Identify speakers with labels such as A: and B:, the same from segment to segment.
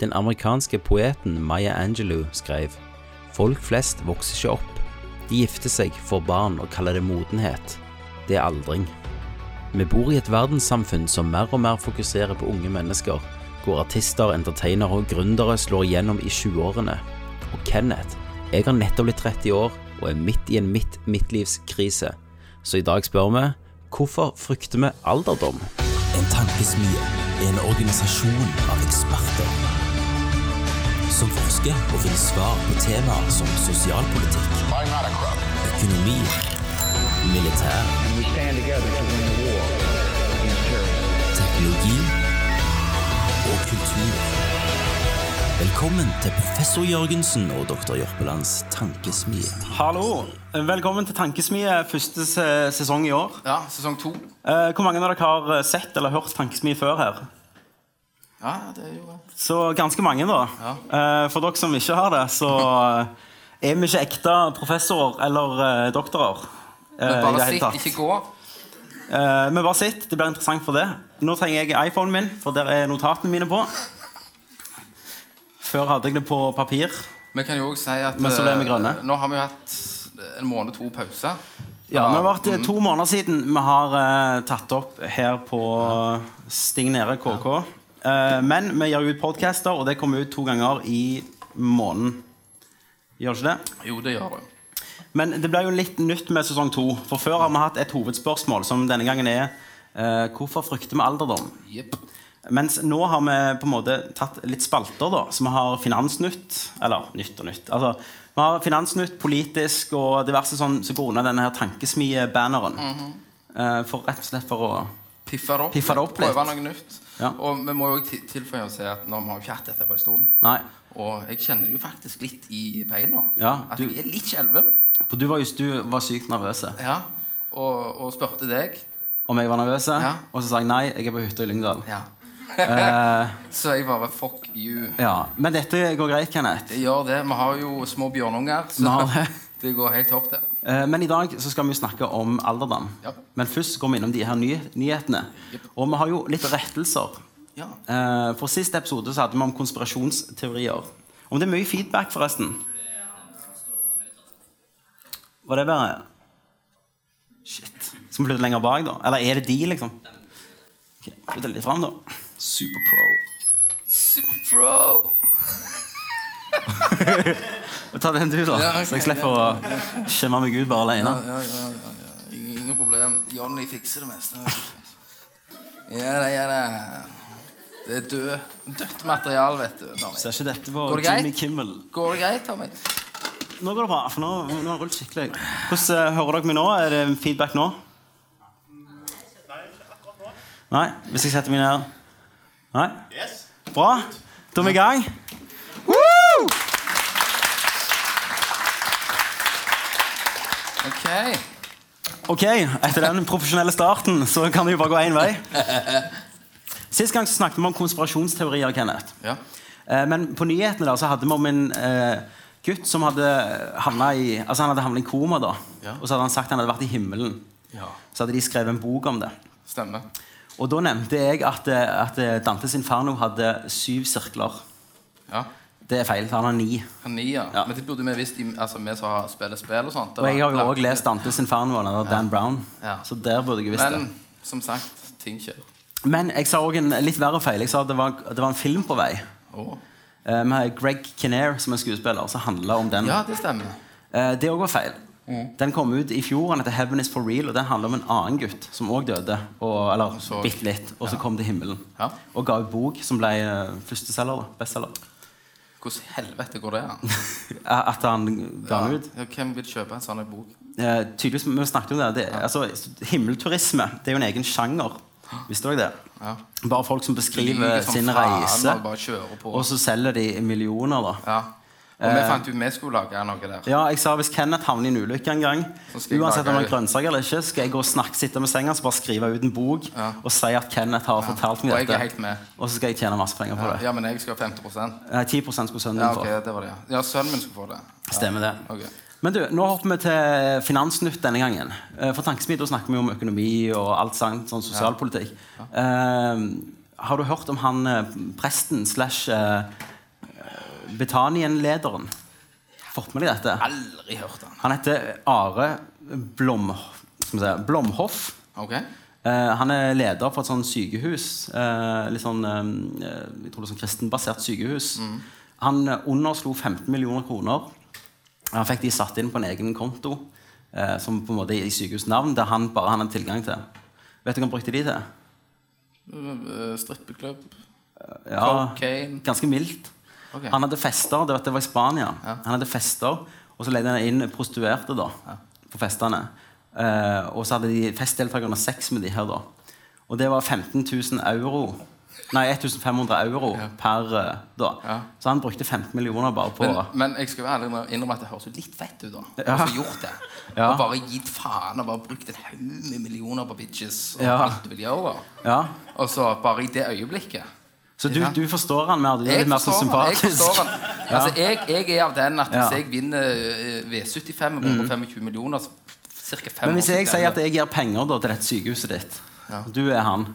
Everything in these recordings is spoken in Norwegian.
A: Den amerikanske poeten Maya Angelou skrev Folk flest vokser ikke opp. De gifter seg, får barn og kaller det modenhet. Det er aldring. Vi bor i et verdenssamfunn som mer og mer fokuserer på unge mennesker, hvor artister, entertainere og gründere slår igjennom i 20-årene. Og Kenneth, jeg har nettopp blitt 30 år og er midt i en midt midtlivskrise. Så i dag spør vi hvorfor frykter vi alderdom?
B: En tankesmie er en organisasjon av eksperter som forsker og finner svar på temaer som sosialpolitikk, økonomi, militær, teknologi og kultur. Velkommen til professor Jørgensen og doktor Jørpelands tankesmie.
C: Hallo. Velkommen til Tankesmie, første se- sesong i år.
D: Ja, sesong to.
C: Eh, Hvor mange av dere har sett eller hørt Tankesmie før her?
D: Ja, det er
C: Eh,
D: jo
C: Så ganske mange, da. Eh, For dere som ikke har det, så eh, er vi ikke ekte professorer eller eh, doktorer. eh, i
D: Bare
C: det hele
D: sitt,
C: tatt.
D: ikke gå.
C: Eh, Men bare sitt. Det blir interessant for det. Nå trenger jeg iPhonen min, for der er notatene mine på. Før hadde jeg det på papir.
D: Vi kan jo også si at
C: Men så ble vi
D: eh,
C: grønne.
D: Nå har vi jo hatt en måned to pause.
C: Ja, Det har vært eh, to måneder siden vi har eh, tatt opp her på Sting Nere KK. Eh, men vi gjør jo ut podcaster, og det kommer ut to ganger i måneden. Gjør ikke det?
D: Jo, det gjør du.
C: Men det blir jo litt nytt med sesong to. For før har vi hatt et hovedspørsmål, som denne gangen er eh, Hvorfor frykter vi alderdom?
D: Jepp.
C: Mens nå har vi på en måte tatt litt spalter, da. Så vi har Finansnytt. Eller Nytt og Nytt. Altså, vi har Finansnytt, Politisk og diverse sånn som går under denne her tankesmie-banneren.
D: Mhm.
C: Eh, for rett og slett for å
D: Piffe det opp.
C: Piffe det opp litt.
D: Prøve noe nytt.
C: Ja.
D: Og vi må jo ti- tilføye og si at nå har vi ikke hatt dette på en stund.
C: Nei.
D: Og jeg kjenner jo faktisk litt i beina
C: Ja,
D: at
C: du-
D: jeg er litt skjelven.
C: For du var, just, du var sykt nervøs.
D: Ja. Og, og spurte deg.
C: Om jeg var nervøs?
D: Ja.
C: Og så sa jeg nei, jeg er på hytta i Lyngdal.
D: Ja.
C: Eh.
D: Så jeg bare Fuck you.
C: Ja, Men dette går greit, Kenneth.
D: Jeg gjør det. Vi har jo små bjørnunger,
C: Vi
D: så
C: har det.
D: det går helt topp, det.
C: Eh, Men i dag så skal vi snakke om alderdom.
D: Ja.
C: Men først går vi innom de her ny nyhetene. Og vi har jo litt rettelser.
D: Ja.
C: Eh, For sist episode så hadde vi om konspirasjonsteorier. Om det er mye feedback, forresten. Var det bare Shit. Skal vi flytte lenger bak, da? Eller er det de, liksom? Ok, Flytt litt fram, da. Superpro.
D: Supro!
C: Ta den du, da.
D: Ja, ok,
C: Så jeg slipper å skjemme meg ut bare alene.
D: Ja, ja, ja, ja, ja. Ingen problem. Johnny fikser det meste. Ja da, ja da. Det er død. Dødt material, vet du. Tommy.
C: Ser ikke dette på
D: Går det greit?
C: Jimmy Kimmel.
D: Går det greit, Tommy?
C: Nå går det bra. for nå, nå har jeg rullet skikkelig. Hvordan eh, hører dere meg nå? Er det feedback nå? Nei? Hvis jeg setter meg ned Nei? Bra. Da er vi i gang. Woo!
D: OK.
C: Ok, Etter den profesjonelle starten så kan det jo bare gå én vei. Sist gang så snakket vi om konspirasjonsteorier. Kenneth.
D: Ja.
C: Eh, Men på nyhetene da, så hadde vi om en eh, gutt som hadde havna i, altså han hadde havnet i koma. da.
D: Ja.
C: Og så hadde han sagt han hadde vært i himmelen.
D: ja.
C: Så hadde de skrevet en bok om det.
D: Stemmer.
C: Og da nevnte jeg at, eh, at eh, Dantes Inferno hadde syv sirkler.
D: Ja.
C: Det er feil. Han har ni.
D: Nia.
C: Ja.
D: Men det burde vi visst, i- altså vi som har spiller spill og sånt. det
C: Og jeg
D: var-
C: har jo òg lest Dantes Inferno av Dan Brown.
D: Ja.
C: Så der burde jeg visst det.
D: Men som sagt, ting skjer.
C: Men jeg sa òg en litt verre feil. Jeg sa at det var, det var en film på vei.
D: Å.
C: eh, Med Greg Kinnear som er skuespiller, som handla om den.
D: Mm. Ja, det stemmer.
C: Eh, Det òg var feil.
D: Mm.
C: Den kom ut i fjor. Den heter 'Heaven is for real', og den handler om en annen gutt som òg døde. Og, eller
D: så-
C: bitte litt. Og så kom til himmelen.
D: Ja.
C: Og ga ut bok som ble eh, førsteselger. da, Bestselger.
D: Hvordan i helvete går det an?
C: Eh, At han ga den ut.
D: Ja, hvem vil kjøpe en sånn bok?
C: Eh, tydeligvis, vi snakket om det, det altså, Himmelturisme det er jo en egen sjanger. Visste dere det?
D: Ja.
C: Bare folk som beskriver
D: Lyger som
C: sin
D: faen,
C: reise,
D: og Bare kjører på.
C: og Eh. så selger de millioner. da
D: Ja. Og vi fant ut vi skulle lage noe der.
C: Ja, jeg sa Hvis Kenneth havner i en ulykke en gang,
D: Så skal jeg
C: uansett om
D: lage-
C: han er grønnsak eller ikke, skal jeg gå og snakke, sitte med senga så bare skrive ut en bok
D: Ja.
C: og si at Kenneth har fortalt
D: Og
C: meg
D: jeg er
C: dette.
D: helt med.
C: Og så skal jeg tjene masse penger på det.
D: Ja, men jeg skal ha 50
C: Eh, 10 skulle sønnen
D: Ja,
C: min
D: ok,
C: få.
D: det var det. ja. Ja, sønnen min skulle få det.
C: Stemmer det.
D: Ok.
C: Men du, nå hopper vi til Finansnytt denne gangen. Eh, For Tankesmid da snakker vi om økonomi og alt sånt, sånn sosialpolitikk. Eh, Har du hørt om han eh, presten slash eh, Betanien-lederen? Fått med deg dette?
D: Aldri hørt han.
C: Han heter Are Blom, skal vi se, Blomhoff.
D: Ok?
C: Eh, han er leder for et sånn sykehus. eh, litt sånn, eh, jeg tror det er sånn kristenbasert sykehus. Han eh, underslo 15 millioner kroner. Han fikk de satt inn på en egen konto eh, som på en måte er i sykehusnavn, der han bare han hadde tilgang til. Vet du hva han brukte de til?
D: Øh, Strippeklubb.
C: Ja,
D: Cocaine.
C: Ganske mildt.
D: Ok.
C: Han hadde fester. Det var, det var i Spania.
D: Ja.
C: Han hadde fester, og så leide han inn prostituerte da, på festene. Eh, og så hadde de festdeltakerne sex med de her. da. Og det var 15 000 euro. Nei, 1500 euro per eh, da.
D: Ja.
C: Så han brukte 15 millioner bare på
D: Men, men jeg skal være ærlig med å innrømme at det høres jo litt fett ut, da.
C: Ja.
D: Ja. Å få gjort det.
C: Ja.
D: Og bare gitt faen og bare brukt en haug med millioner på bitches og
C: Ja.
D: alt du vil gjøre.
C: Ja.
D: Og så bare i det øyeblikket
C: Så du,
D: Ja.
C: du forstår han mer? Du er
D: Jeg
C: litt mer sånn
D: forstår han. Jeg, forstår
C: sympatisk?
D: han. Altså, jeg, jeg er av den at hvis
C: Ja. Mm.
D: jeg vinner eh, V75 og bruker 25 millioner, så ca. 5
C: Men hvis jeg sier at jeg gir penger da, til dette sykehuset ditt
D: Ja. Mm.
C: Du er han.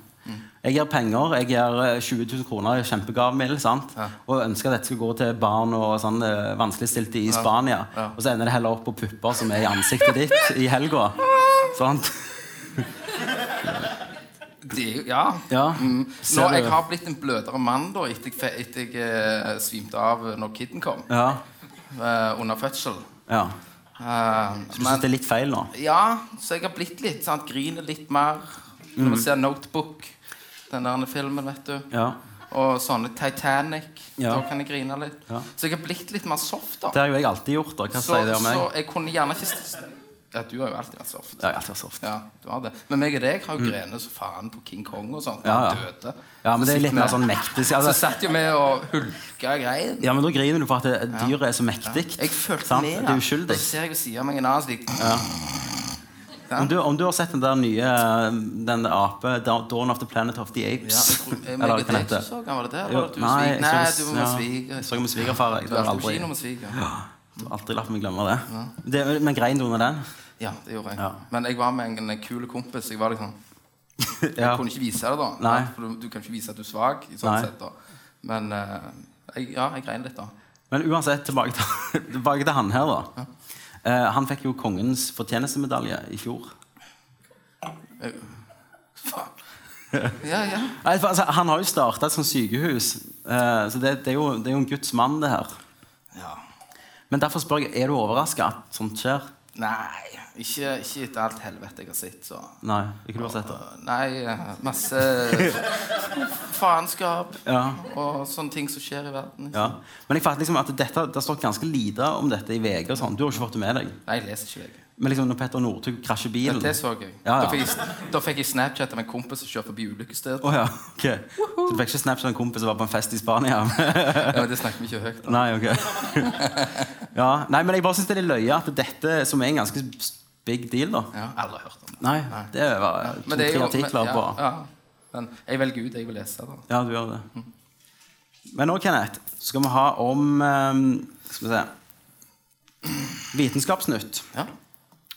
C: Jeg gir penger. Jeg gir eh, 20 000 kroner i kjempegavmild. sant?
D: Ja.
C: Og ønsker at dette skal gå til barn og sånn eh, vanskeligstilte i Spania.
D: Ja.
C: Og så ender det heller opp på pupper som er i ansiktet ditt i helga. Sant?
D: det, Ja.
C: Ja.
D: Mm. Nå,
C: Ser du-
D: jeg har blitt en blødere mann da etter jeg, fe- etter jeg eh, svimte av når kiden kom.
C: Ja.
D: eh, under fødsel.
C: ja.
D: Eh,
C: Du
D: men-
C: syns det er litt feil nå?
D: Ja, så jeg har blitt litt sant? Griner litt mer Når man ser Notebook Den der filmen, vet du
C: Mm. Ja.
D: Og sånne Titanic
C: Ja.
D: Da kan jeg grine litt
C: Ja.
D: Så jeg har blitt litt mer soft da
C: Det har jo jeg alltid gjort. da. Hva
D: så,
C: sier det om meg?
D: så jeg kunne gjerne ikke s- Ja, du har jo alltid vært soft
C: Ja, jeg har alltid vært soft.
D: Ja, du har det Men meg og deg har jo grenet så faen på King Kong og sånt
C: Ja,
D: Han
C: ja.
D: døde
C: Ja, men det er
D: Så sitter
C: litt mer
D: vi-
C: sånn mektig.
D: Så
C: Altså,
D: satt jo vi og hulka greien
C: ja, men da griner du for at det- dyret er så mektig.
D: Jeg følte
C: sant?
D: med
C: Det er uskyldig.
D: Så ser jeg jo siden av meg en annen slik
C: Om du, om du har sett den der nye den ape, Da- Dawn of the Planet of the
D: Ja, jeg
C: Apes?
D: tror- jeg-
C: Eller hva
D: jeg-
C: den
D: jeg-
C: heter?
D: så han, var det der?
C: Jo,
D: Var det du
C: nei,
D: svig?
C: jeg
D: Nei,
C: så-
D: du var med
C: ja.
D: sviger.
C: Jeg så med svigerfar, jeg.
D: Du
C: Det var
D: var på
C: aldri-
D: kino med sviger.
C: Jeg har Aldri latt meg glemme det. det men grein du under den?
D: Ja, det gjorde jeg.
C: Ja.
D: Men jeg var med en, en kul kompis. Jeg var liksom,
C: Ja.
D: jeg kunne ikke vise det, da.
C: Nei.
D: For du, du kan ikke vise at du er svak. i
C: Nei.
D: sånn sett, da. Men eh, jeg, ja, jeg grein litt, da.
C: Men uansett, tilbake til, tilbake til han her, da. Eh, han fikk jo kongens fortjenestemedalje i fjor.
D: Jeg, faen. Ja, ja.
C: Nei, for, altså, han har jo starta et sånt sykehus, eh, så det, det, er jo, det er jo en Guds mann, det her.
D: ja.
C: Men derfor spør jeg, er du overraska at sånt skjer?
D: Nei, ikke, ikke etter alt helvete jeg har sett, så
C: Nei. Ikke du har sett det?
D: Nei, eh, masse faenskap
C: Ja.
D: og sånne ting som skjer i verden.
C: Ja. Men jeg fatter liksom at dette, det har stått ganske lite om dette i VG. og sånn. Du har ikke fått det med deg.
D: Nei, jeg leser ikke, jeg.
C: Men liksom når Petter Northug krasjer
D: Ja,
C: bilen
D: det så jeg.
C: Ja, ja.
D: Da, fikk jeg da fikk jeg Snapchat av en kompis som kjører forbi ulykkesstedet.
C: Å ja, ok. Så du fikk ikke snaps av en kompis som var på en fest i Spania?
D: Ja, det snakker vi ikke høyt om.
C: Nei, ok. ja, nei, men jeg bare syns det er litt løye at dette, som er en ganske big deal, da
D: Ja, aldri hørt om det.
C: Nei, det var
D: Men det
C: to-tre
D: er jo-
C: artikler
D: men-
C: på
D: ja, ja. Men jeg velger ut det jeg vil lese. da.
C: Ja, du gjør det. Men nå, Kenneth, skal vi ha om eh, Skal vi se Vitenskapsnytt.
D: Ja.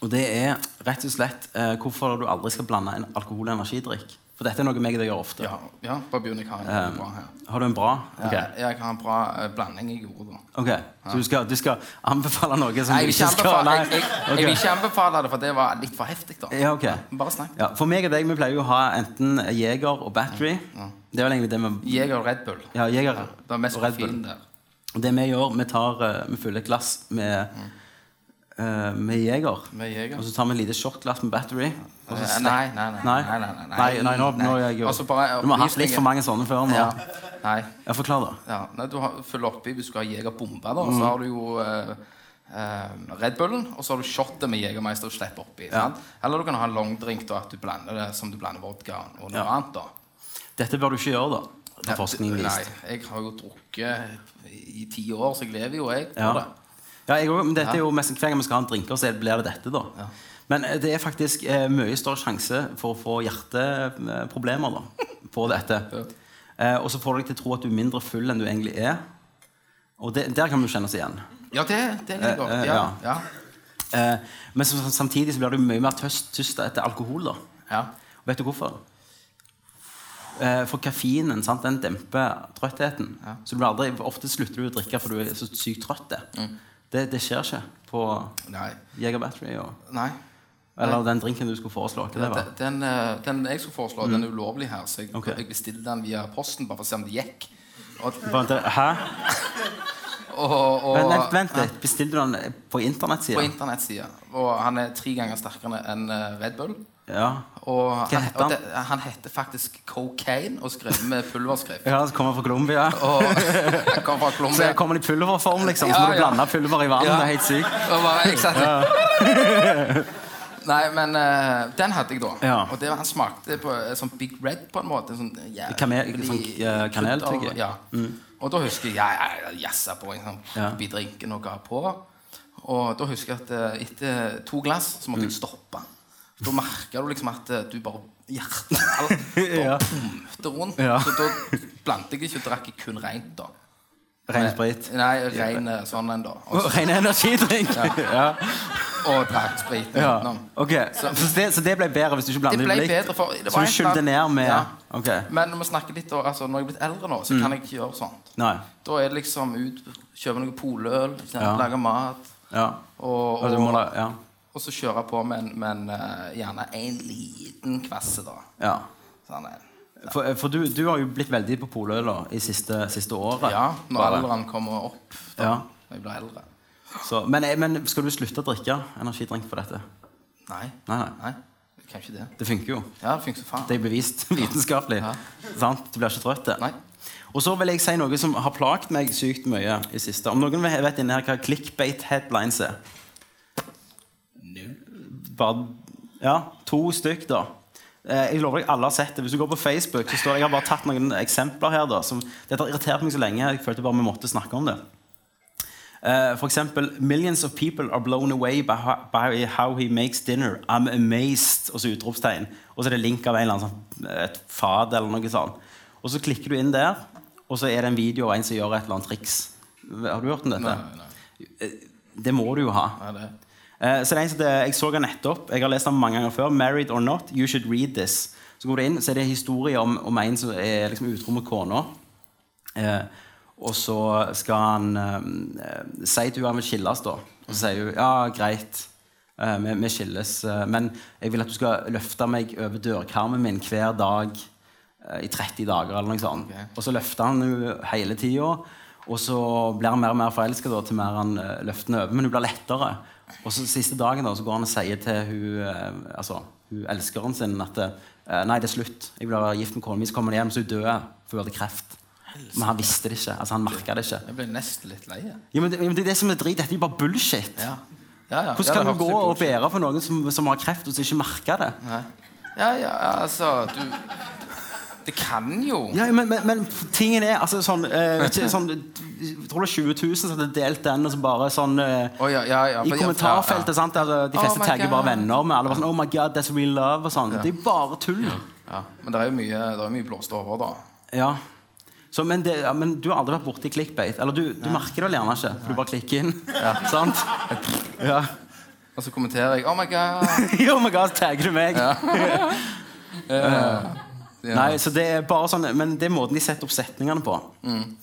C: Og det er rett og slett eh, hvorfor du aldri skal blande en alkohol- og energidrikk. For dette er noe meg og deg gjør ofte.
D: Ja, ja, bare begynn. Jeg har en bra her.
C: Har du en bra? Um, Ok.
D: Ja, jeg har en bra eh, blanding jeg gjorde da.
C: Ok, Så du skal, du skal anbefale noe som
D: Nei, jeg
C: du
D: vil ikke
C: ikke skal
D: anbefale, jeg, jeg, jeg vil
C: Ok.
D: ikke anbefale det, for det var litt for heftig. da.
C: Ja, ok.
D: Bare snakk.
C: Ja, for meg og deg, vi pleier jo å ha enten Jeger og Battery. Det er vel egentlig det vi
D: Jeger og Red Bull.
C: Ja, Jeger
D: Det var mest
C: og Red Bull.
D: koffein der.
C: Og Det vi gjør, vi tar eh, Vi fyller et glass med, eh, med Jeger.
D: Med Jeger.
C: Og så tar vi et lite shortglass med Battery. Og så
D: Eh,
C: slipper-
D: Nei, nei, nei.
C: Nei?
D: nei, nei, nei,
C: Nei, nei, nå, nå er jeg jo
D: Altså, bare
C: Du må ha hatt litt
D: opplysninger.
C: for mange sånne før nå.
D: Ja.
C: Ja.
D: Nei.
C: Forklar, da.
D: Ja, nei, du har, følger oppi hvis du har jegerbombe. da,
C: Mm.
D: Så har du jo eh, eh, Red Bullen, og så har du shotet med Jegermeister og slipper oppi. sant? Eller du kan ha en longdrink da, at du blander det som du blander vodka og noe annet. da.
C: Dette bør du ikke gjøre, da. Har forskningen
D: Nei,
C: vist.
D: jeg har jo drukket i ti år, så jeg lever jo, jeg.
C: Ja.
D: på det.
C: Ja, jeg, også, men dette er jo mest, Hver gang vi skal ha en drinker, så blir det dette, da. Men eh, det er faktisk eh, mye større sjanse for å få hjerteproblemer da, på dette. Eh, og så får du deg til å tro at du er mindre full enn du egentlig er. Og det, der kan vi jo kjenne oss igjen.
D: Ja, det, det kan jeg godt.
C: eh,
D: Ja,
C: ja.
D: ja.
C: Eh, men så, samtidig så blir du mye mer tøst, tyst etter alkohol. da.
D: ja.
C: Vet du hvorfor? Eh, For kaffeinen sant, den demper trøttheten. Så du blir aldri, Ofte slutter du å drikke for du er så sykt trøtt. Det, det skjer ikke på
D: Nei.
C: Jeger Battery og,
D: Nei.
C: eller den drinken du skulle foreslå. Ikke det,
D: Den,
C: var?
D: den, eh, den jeg skulle foreslå, den er ulovlig her, så jeg,
C: Ok.
D: jeg bestilte den via posten bare for å se om det gikk. Og,
C: Bare vent, Hæ?
D: og, og,
C: Vent, vent, vent litt. Bestilte du den på
D: På
C: internettsida?
D: internettsida. Og han er tre ganger sterkere enn eh, Red Bull.
C: Ja.
D: Og han,
C: heter han?
D: og det, han heter faktisk Cocaine og skrevet med pulverskrift.
C: ja, så kommer jeg fra Colombia.
D: Og kom fra Colombia.
C: Så kommer det i pulverform, liksom. Så
D: Ja,
C: må du
D: ja.
C: blande pulver i vann.
D: Ja.
C: Det er helt sykt.
D: Og bare, jeg satt- Nei, men eh, den hadde jeg da.
C: Ja.
D: Og det, han smakte på eh, sånn Big Red på en måte. Sånn, eh, jævlig-
C: Kamel- sånn, eh, kanel,
D: krydder-
C: tenker jeg.
D: Ja. Og da husker jeg jeg jeg jassa på en sånn
C: Ja.
D: oppi drinken og ga på. Og da husker jeg at eh, etter to glass så
C: Mm.
D: måtte jeg stoppe. Da merka du liksom at eh, du bare hjertet alt
C: Ja.
D: bare pumpte rundt.
C: Ja.
D: Så da blandet jeg ikke og drakk jeg kun rent, da.
C: Ren sprit.
D: Nei, ren eh, sånn en, da. Og,
C: Ren energidrink. Ja.
D: og drakk spriten
C: Ja.
D: utenom.
C: Ok, så, så, det, så det ble bedre hvis du ikke
D: Det
C: blander
D: ble
C: likt?
D: bedre for det
C: Så
D: var
C: du
D: en
C: skyldte
D: plan-
C: ned med
D: ja.
C: Ok.
D: Men når vi snakker litt, da, altså, når jeg er blitt eldre nå,
C: Mm.
D: så kan jeg ikke gjøre sånt.
C: Nei.
D: Da er det liksom ut, kjøpe noe poløl, ikke sant,
C: Ja.
D: lage mat,
C: Ja.
D: og,
C: Og du må
D: og,
C: da Ja.
D: og så kjøre på med en, med en eh, gjerne en liten kvasse, da.
C: ja.
D: Sånn en.
C: For, for du, du har jo blitt veldig på poløl da, i siste, siste året.
D: Ja, når
C: Bare.
D: alderen kommer opp, da,
C: Ja.
D: når jeg blir eldre.
C: Så, men, eh, men skal du slutte å drikke energidrink for dette?
D: Nei.
C: Nei, nei.
D: jeg kan ikke det.
C: Det funker jo.
D: Ja, det funker som faen.
C: Det er bevist vitenskapelig.
D: Ja.
C: Sant? Du blir ikke trøtt.
D: Nei.
C: Og så vil jeg si noe som har plaget meg sykt mye i siste. Om noen vet inne her hva clickbait headlines er? Bare, ja, to stykk, da. Eh, Jeg lover deg, alle har sett det. Hvis du går på Facebook, så står det Jeg har bare tatt noen eksempler her. da som, Dette har irritert meg så lenge. Jeg følte bare vi måtte snakke om det. Eh, For eksempel Millions of people are blown away by ho- by how he makes dinner. I'm amazed. Og så utropstegn. Og så er det link av en eller annen sånn, et fad eller noe sånt. Og så klikker du inn der, og så er det en video av en som gjør et eller annet triks. Har du hørt om dette?
D: Nei, nei.
C: Det må du jo ha.
D: Nei, det-
C: Eh, så det er en som det, Jeg så den nettopp. Jeg har lest den mange ganger før. 'Married or not, you should read this'. Så går du inn, så er det historie om, om en som er liksom utro med kona. Eh, og så skal han eh, eh, si til henne han vil skilles, da. Og så sier hun 'ja, greit, eh, vi, vi skilles', eh, 'men jeg vil at du skal løfte meg over dørkarmen min hver dag' eh, i 30 dager eller noe sånt.
D: Ok.
C: Og så løfter han henne hele tida. Og så blir han mer og mer forelska til mer han eh, løfter henne over. Men hun blir lettere. Og så siste dagen da, så går han og sier til hun, eh, altså, hun elskeren sin at eh, nei, det er slutt. Jeg blir gift med kona mi. Så kommer han hjem, så hun dør. For hun hadde kreft. Men han visste det ikke. altså han merket det ikke.
D: Jeg ble nesten litt lei. jeg.
C: Ja, men, det, ja, men det er det som er drit. Dette er jo bare bullshit.
D: Ja. Ja, ja.
C: Hvordan
D: Ja,
C: kan
D: det
C: du gå
D: hørtes litt
C: og
D: bullshit
C: bære for noen som, som har kreft, og som ikke merker det?
D: Nei. Ja, ja, altså du, Det kan jo
C: Ja, men, men, men tingen er altså, sånn, eh, ikke, sånn Jeg tror det er 20 000 som hadde delt den, og så bare sånn eh,
D: Å, ja, ja, ja,
C: I
D: for- ja,
C: kommentarfeltet.
D: ja,
C: Sant, der, eh, de
D: Oh
C: fleste
D: my
C: tagger bare
D: God.
C: venner med alle bare sånn, Oh my God, that's real love og sånn. Det er bare tull.
D: ja. ja. Men det er jo mye, det er mye blåst over, da.
C: Ja. Så, men, det, ja, men du har aldri vært borti clickbait. Eller du, du merker det vel gjerne ikke, for du bare klikker inn. Sant? Ja.
D: Og så kommenterer jeg Oh my god!
C: oh my God, tagger du meg?
D: Ja.
C: Nei, så det er bare sånn Men det er måten de setter opp setningene på.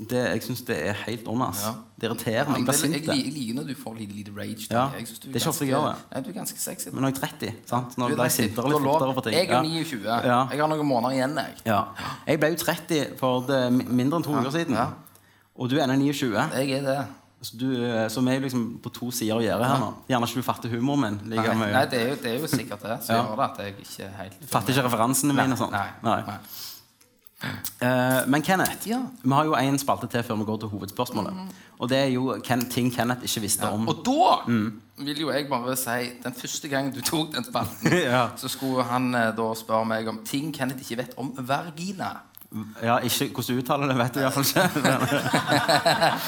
C: Det, jeg syns det er helt åndas.
D: Mm. Ja.
C: Det irriterer meg. Jeg
D: Men
C: blir
D: det, jeg,
C: sint. det.
D: jeg liker når du får lite, lite rage. da.
C: Ja.
D: Jeg synes du
C: Det er ikke ofte jeg
D: ganske-
C: gjør det.
D: Nei, du er ganske sexy.
C: Men når jeg er 30, sant?
D: Du
C: når
D: er
C: jeg blir
D: sexy.
C: sintere litt
D: Du har lov.
C: fortere på ting
D: Jeg
C: Ja.
D: er 29.
C: Ja.
D: Jeg har noen måneder igjen, jeg.
C: Ja. Jeg ble jo 30 for det, mindre enn to uker siden.
D: Ja.
C: Og du er ennå 29,
D: Jeg er det.
C: så, du, så vi er jo liksom på to sider av gjerdet her nå. Gjerne ikke du fatter humoren min.
D: Nei,
C: Like
D: nei
C: mye.
D: det, er jo, det er jo sikkert det som gjør det at jeg ikke er helt
C: Fatter ikke referansene mine. og sånt.
D: Nei.
C: Nei.
D: Nei.
C: Eh, men Kenneth,
D: Ja.
C: vi har jo én spalte til før vi går til hovedspørsmålet. Og det er jo Ken, ting Kenneth ikke visste om.
D: Og da
C: Mm.
D: vil jo jeg bare si Den første gangen du tok den spalten,
C: Ja.
D: så skulle han eh, da spørre meg om ting Kenneth ikke vet om vergina.
C: Ja, ikke hvordan du uttaler det, vet du i hvert fall ikke.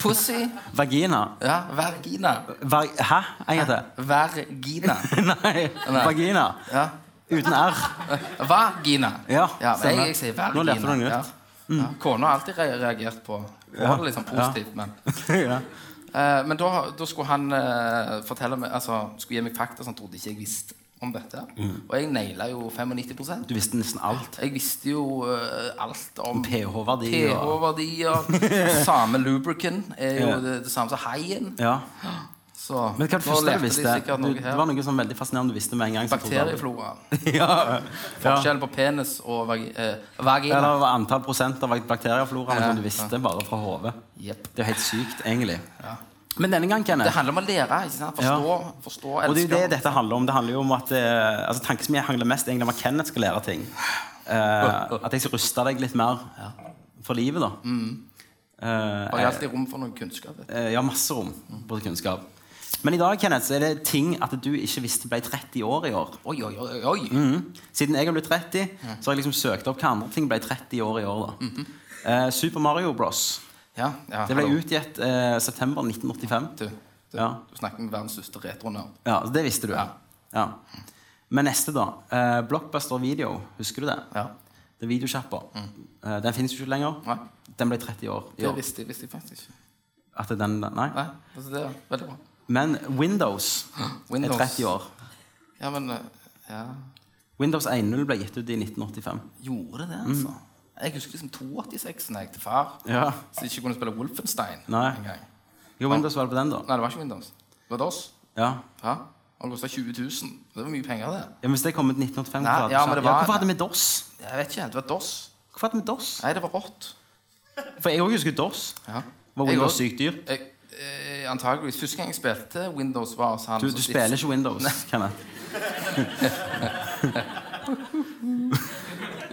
D: Pussy.
C: Vagina.
D: Ja, vergina.
C: Var Hæ? En gang til.
D: Vergina.
C: Nei.
D: Nei.
C: Vagina.
D: Ja. Eh,
C: Uten R.
D: Vagina.
C: Ja,
D: jeg,
C: stemmer.
D: jeg sier vergina.
C: Nå lærte du noe nytt. Mm.
D: Ja. Ja. Kona har alltid re- reagert på på
C: Ja.
D: det liksom positivt, men
C: ja.
D: eh, Men da, da skulle han eh, fortelle meg Altså, skulle gi meg fakta som han trodde ikke jeg visste. om dette.
C: Mm.
D: Og jeg naila jo 95
C: Du visste nesten alt.
D: Jeg visste jo eh, alt om
C: pH-verdi og-
D: pH-verdier. samme lubricant er jo
C: Ja.
D: det, det samme som haien.
C: Ja.
D: Så
C: Men hva var det første du visste?
D: sikkert
C: Du,
D: noe
C: det
D: her.
C: var noe sånn veldig fascinerende du visste med en gang. som tok av deg.
D: Bakterieflora.
C: ja. ja.
D: Forskjell på penis og vagi, eh, vagina.
C: Eller var antall prosent av bakteriefloraen som du visste bare fra hodet.
D: Jep.
C: Det er jo helt sykt, egentlig. Men denne gang, Kenneth
D: Det handler om å lære. Ikke sant? Forstå, forstå, elske.
C: Og det er jo det dette handler om. Det handler jo om at eh, altså, Tankesmien handler mest egentlig om at Kenneth skal lære ting. Eh, at jeg skal ruste deg litt mer for livet, da. Eh,
D: Har Mm. jeg alltid rom for noe kunnskap? vet du.
C: eh, jeg har masse rom på kunnskap. Men i dag Kenneth, så er det ting at du ikke visste ble 30 år i år.
D: Oi, oi, oi, oi.
C: Mm. Siden jeg har blitt 30,
D: Mm.
C: så har jeg liksom søkt opp hva andre ting ble 30 år i år. da Eh, Super Mario Bros.
D: Ja, Mm-hmm. ja,
C: Det ble
D: hallo.
C: utgitt eh, september 1985.
D: Du, du,
C: Ja.
D: du snakker med verdens største retronerd.
C: Ja, så Det visste du.
D: Ja.
C: Ja. Men neste, da. Eh, Blockbuster Video. Husker du det?
D: Ja.
C: Det er videosjappa. Eh, den fins jo ikke lenger.
D: Mm. Nei.
C: Den ble 30 år i
D: Det
C: år.
D: visste, jeg- visste jeg faktisk ikke.
C: At den, nei.
D: Nei, altså det er veldig bra.
C: Men Windows,
D: Windows.
C: er 30 år.
D: Ja, men eh, ja.
C: Windows 1.0 ble gitt ut i 1985.
D: Gjorde det, altså? Jeg husker liksom 286 når jeg til far.
C: Ja.
D: Så jeg ikke kunne spille Wolfenstein
C: Nei.
D: engang.
C: Jo, Windows var det på den, da.
D: Nei, det var ikke Windows. Det var DOS.
C: Ja.
D: Ja. Og det kosta 20 000. Det var mye penger, det.
C: ja, men Hvis det kom ut 1985
D: Nei,
C: hvorfor hadde
D: ja,
C: du
D: men
C: sagt-
D: det var-
C: Hvorfor hadde vi DOS?
D: Jeg vet ikke. Det var DOS.
C: Hvorfor hadde vi DOS?
D: Nei, det var rått.
C: For jeg òg husker DOS.
D: Ja.
C: Var
D: Jeg
C: Windows
D: også-
C: sykt dyrt?
D: Jeg, eh, antageligvis. Første gang jeg spilte Windows, var hos han
C: Du,
D: som
C: du
D: sitter-
C: spiller ikke Windows, Kenneth.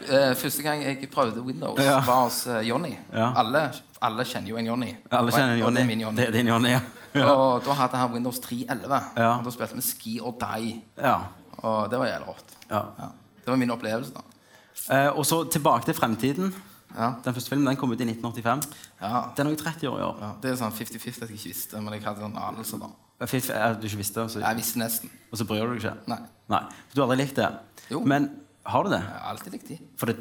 D: Eh, første gang jeg prøvde Windows,
C: Ja.
D: var hos eh, Johnny.
C: Ja.
D: Alle, alle kjenner jo en Johnny.
C: Alle kjenner
D: Og- og
C: Johnny.
D: det er min Johnny.
C: Det er din Johnny, ja. ja.
D: Og da hadde han Windows 311.
C: Ja.
D: Og da spilte vi Ski or Die.
C: ja.
D: Og det var jævlig rått.
C: ja.
D: Ja. Det var min opplevelse, da.
C: Eh, og så tilbake til Fremtiden.
D: Ja.
C: Den første filmen den kom ut i 1985.
D: Ja.
C: Den er også 30 år i år.
D: ja. Det er sånn 50-50 at jeg ikke visste, men jeg hadde en anelse, da.
C: Jeg fikk- jeg- eh, Du ikke visste, og så,
D: Jeg visste nesten.
C: og så bryr du deg ikke?
D: Nei.
C: Nei, for Du har aldri likt det?
D: Jo.
C: Men har du det?
D: Jeg har alltid likt de.
C: For det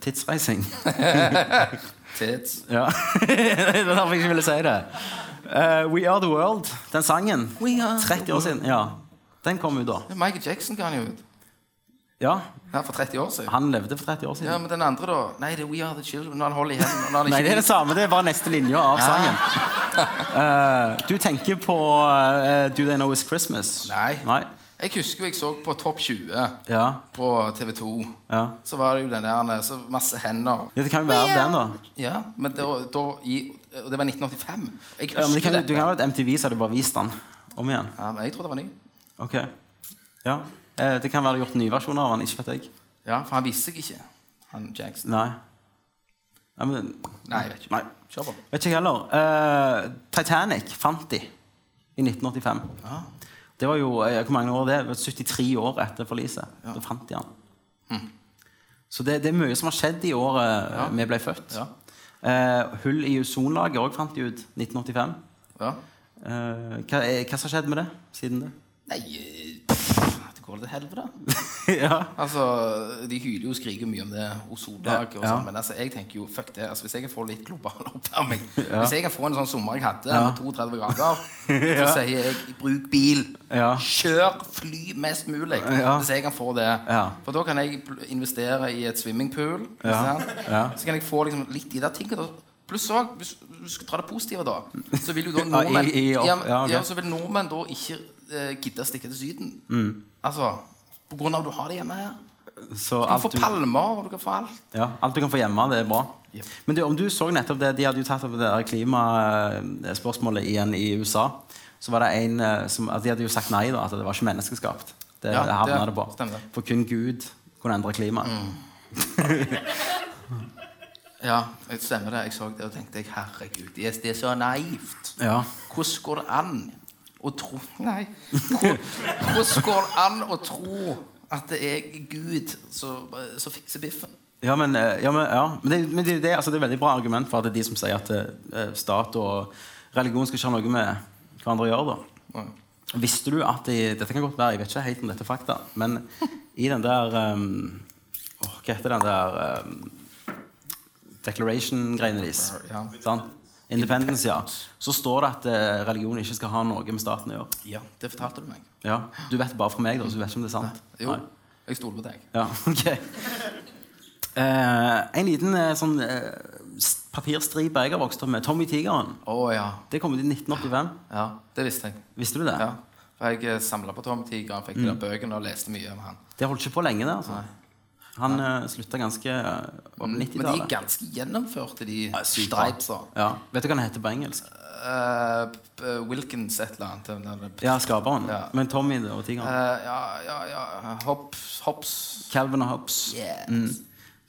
C: tidsreising.
D: Tits.
C: Ja. det er derfor jeg ikke ville si det. Eh, We Are The World, den sangen.
D: We are the
C: 30 år siden. Ja. Den kom jo da.
D: Ja, Michael Jackson ga han jo ut.
C: Ja,
D: Ja, for 30 år siden.
C: Han levde for 30 år siden.
D: Ja, men den andre, da? Nei, det er We Are The Children. Når han holder i hendene. og Når han
C: Nei,
D: ikke
C: det er det samme. Det er bare neste linja av sangen. Eh, du tenker på eh, Do They Know It's Christmas?
D: Nei.
C: Nei.
D: Jeg husker jo jeg så på Topp 20
C: Ja.
D: på TV 2.
C: ja.
D: Så var det jo den der så masse hender.
C: Ja, Det kan jo være den, da.
D: Ja, men da, da i, Og det var 1985. Jeg
C: Ja, men det
D: husker
C: kan,
D: dette.
C: du kan jo ha et MTV, så hadde du bare vist den om igjen.
D: Ja, men jeg tror det var ny.
C: Ok. Ja. Eh, det kan være gjort nye versjoner av den, ikke vet jeg.
D: Ja, For han visste jeg ikke, han Jackson.
C: Nei. Nei, men,
D: Nei, jeg vet ikke.
C: Nei.
D: Kjør på.
C: vet ikke jeg heller. Eh, Titanic fant de i 1985. Det var jo eh, hvor mange år det? er? 73 år etter forliset. Da fant de han. Så det, det er mye som har skjedd i året eh, vi ble født.
D: Hm. Ja.
C: Eh, hull i ozonlaget òg fant de ut 1985.
D: Ja.
C: Eh, hva, eh, hva som har skjedd med det siden det?
D: Nei eh, pff, Det går til helvete.
C: ja.
D: Altså, De hyler jo og skriker mye om det ozonlaget, og
C: Ja.
D: sånn, men altså, jeg tenker jo fuck det. altså Hvis jeg kan få litt global oppvarming Hvis jeg kan få en sånn sommer jeg hadde, med 32 grader, så sier jeg bruk bil.
C: Ja.
D: Kjør fly mest mulig.
C: Ja.
D: Hvis jeg kan få det.
C: Ja.
D: For da kan jeg pl- investere i et swimmingpool. ikke
C: Ja.
D: sant?
C: Ja.
D: Så kan jeg få liksom litt i de tingene. da. Pluss òg, hvis hvis du skal dra det positive, da, så vil jo da
C: Ja, i-
D: nordmenn
C: i- opp-
D: ja, men-
C: ja, ok.
D: ja, så vil nordmenn da ikke eh, gidde å stikke til Syden. Altså, På grunn av at du har det hjemme her.
C: Så
D: Du kan få
C: alt du,
D: palmer, og du kan få alt.
C: ja, alt du kan få hjemme, det er bra. Men du, om du så nettopp det, De hadde jo tatt opp det der klimaspørsmålet igjen i USA. Så var det en eh, som, at De hadde jo sagt nei, da, at det var ikke menneskeskapt. Det
D: Ja,
C: havna det,
D: det
C: på.
D: stemmer Mm. det.
C: For kun Gud kunne endre klimaet.
D: Ja, jeg stemmer det. Jeg så det og tenkte jeg, herregud, det er, det er så naivt.
C: Ja.
D: Hvordan går det an å tro Nei. Hvor- Hvordan går det an å tro at det er Gud som eh, som fikser biffen?
C: Ja, men, eh, ja, men, ja. men, det, men det, det, altså, det er et veldig bra argument for at det er de som sier at eh, stat og religion skal ikke ha noe med hverandre å gjøre. da.
D: Nei.
C: Visste du at i, Dette kan godt være, jeg vet ikke helt om dette er fakta, men i den der ehm, åh, Hva heter den der ehm, Declaration-greiene deres?
D: Ja.
C: sant? Independence, ja. Så står det at eh, religion ikke skal ha noe med staten å gjøre.
D: Ja, det fortalte du meg.
C: Ja. Du vet bare fra meg, da, så du vet ikke om det er sant.
D: Jo,
C: Nei.
D: jeg stoler på deg.
C: Ja, ok. Eh, en liten eh, sånn eh, s- papirstripe jeg har vokst opp med. Tommy Tigeren.
D: Å ja.
C: Det kom ut i 1985.
D: ja. Det visste jeg.
C: Visste du det?
D: Ja. For jeg samla på Tom Tiger, fikk
C: Mm.
D: de der bøkene og leste mye om han.
C: Det holdt ikke på lenge, det. altså. Han eh, slutta ganske eh, var på
D: Men de er
C: 90-tallet.
D: ganske gjennomførte, de
C: Ja, sykt bra.
D: stripesa.
C: Ja. Vet du hva han heter på engelsk?
D: Eh, p- eh, Wilkins et eller annet. den der-
C: Ja, skaperen.
D: Ja.
C: Men Tommy og Tigeren.
D: Eh, ja, ja, ja. Hops, hops.
C: Calvin og Hobbes. Mm.
D: Yes.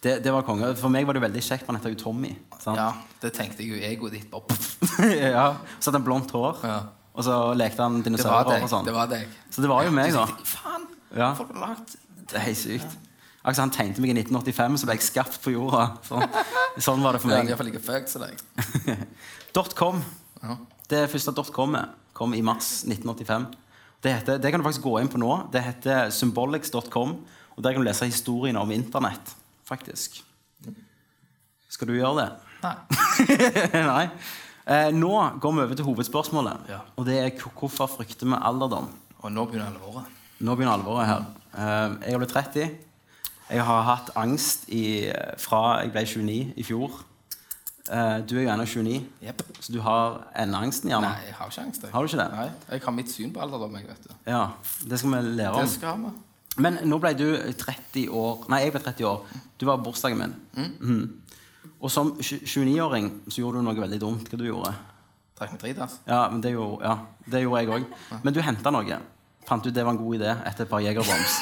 C: Det, det var konge. For meg var det veldig kjekt, for han heter jo Tommy. Sant?
D: Ja, det tenkte jeg jo. Egoet ditt bare pff.
C: ja. Så hadde han blondt hår,
D: Ja.
C: og så lekte han
D: Det var
C: dinosaurer
D: deg.
C: og sånn.
D: Det var deg.
C: Så det var jo meg,
D: Så
C: da.
D: tenkte jeg, Faen!
C: Ja.
D: Folk har lagt
C: Det er helt sykt. Altså, han tegnte meg i 1985, så ble jeg skapt på jorda. Sånn, sånn var det for
D: Jeg er
C: meg.
D: iallfall like fucked som deg.
C: .com.
D: Ja.
C: Det første .com-et kom i mars 1985. Det, heter, det kan du faktisk gå inn på nå. Det heter symbolics.com. Og Der kan du lese historien om internett, faktisk. Skal du gjøre det?
D: Nei.
C: Nei. Eh, nå går vi over til hovedspørsmålet.
D: Ja.
C: Og det er hvor- hvorfor frykter vi alderdom?
D: Og nå begynner alvoret.
C: Nå begynner alvoret her. Eh, jeg har blitt 30. Jeg har hatt angst i, fra jeg ble 29 i fjor. Eh, du er jo ennå 29,
D: Jepp.
C: så du har ennå angsten, gjerne?
D: Nei, jeg har ikke angst. Jeg.
C: Har du ikke det?
D: Nei, jeg har mitt syn på alderdom. jeg vet du.
C: Ja, Det skal vi lære
D: Det
C: om.
D: skal vi.
C: Men nå ble du 30 år Nei, jeg ble 30 år. Du var bursdagen min.
D: Mm.
C: Mhm. Og som 29-åring så gjorde du noe veldig dumt. Hva du gjorde
D: Trekk med dritass.
C: Ja, men det gjorde, ja, det gjorde jeg òg. Men du henta noe. Fant ut det var en god idé etter et par Jegerbombs.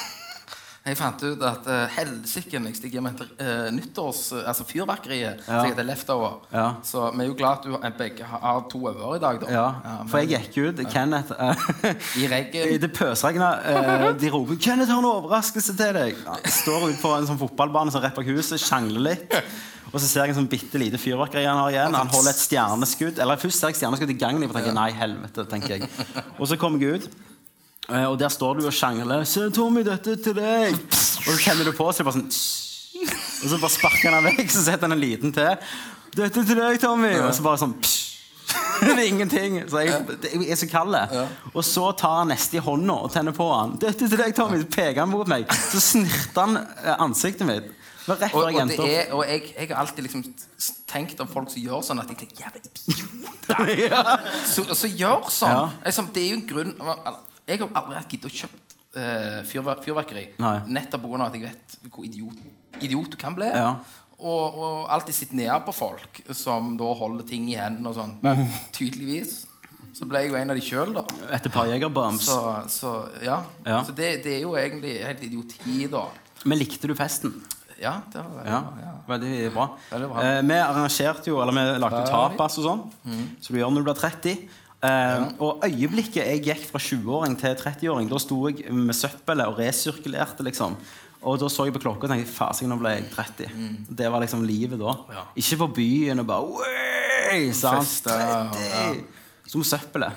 D: Jeg fant ut at uh, helsike jeg stikker med uh, nyttårs... eh, altså fyrverkeriet
C: Ja.
D: som heter Leftover.
C: Ja.
D: Så vi er jo glad at du har- begge har- har to øver i dag, da.
C: Ja,
D: men
C: for jeg gikk ut. Kenneth eh,
D: I regn.
C: Det pøsregna. eh, de roper 'Kenneth har en overraskelse til deg'. Ja, står ut på en sånn fotballbane som rett bak huset, sjangler litt. Og så ser jeg en sånn bitte lite fyrverkeri han har igjen. Han holder et stjerneskudd. Eller først ser jeg stjerneskudd i gangen, og tenker 'nei, helvete'. tenker jeg Og så kommer jeg ut, eh, og der står du og sjangler 'Se, Tommy, dette er til deg'. Og så kjenner du på, så det er bare sånn Og så bare sparker han den vekk, så setter han en liten til. 'Dette er til deg, Tommy'. Og så bare sånn det er ingenting. Så jeg, det- jeg er så kald. Og så tar han neste i hånda og tenner på han. Dette er til deg, Tommy. Så peker han mot meg. Så snirter han eh, ansiktet mitt. Det var rett
D: Og,
C: før jeg
D: og, det
C: endte opp.
D: er, og jeg, jeg har alltid liksom s- tenkt om folk som gjør sånn, at jeg tenker jævla idioter
C: Ja.
D: som som gjør sånn.
C: Ja.
D: Liksom, det er jo en grunn Jeg har aldri hatt giddet å kjøpe eh, fyrver fyrverkeri
C: Nei.
D: nettopp på grunn av at jeg vet hvor idiot, idiot du kan bli.
C: Ja.
D: Og, og alltid sitte ned på folk som da holder ting i hendene og sånn.
C: Mm.
D: Tydeligvis. Så ble jeg jo en av de sjøl, da.
C: Etter et par jegerbombs.
D: Så, så ja.
C: Ja.
D: Så det, det er jo egentlig helt idioti, da.
C: Men likte du festen?
D: Ja, det var det.
C: Ja.
D: Ja.
C: Veldig bra.
D: Veldig bra.
C: Eh, vi arrangerte jo, eller vi lagde jo tapas og sånn,
D: Mm.
C: som du gjør når du blir 30. Eh, Og øyeblikket jeg gikk fra 20-åring til 30-åring, da sto jeg med søppelet og resirkulerte, liksom. Og da så jeg på klokka og tenkte fasing, nå ble jeg 30. Det var liksom livet da.
D: Mm. Ja.
C: Ikke på byen og bare «Wey!» sant?
D: Feste, ja.
C: 30! Som søppelet.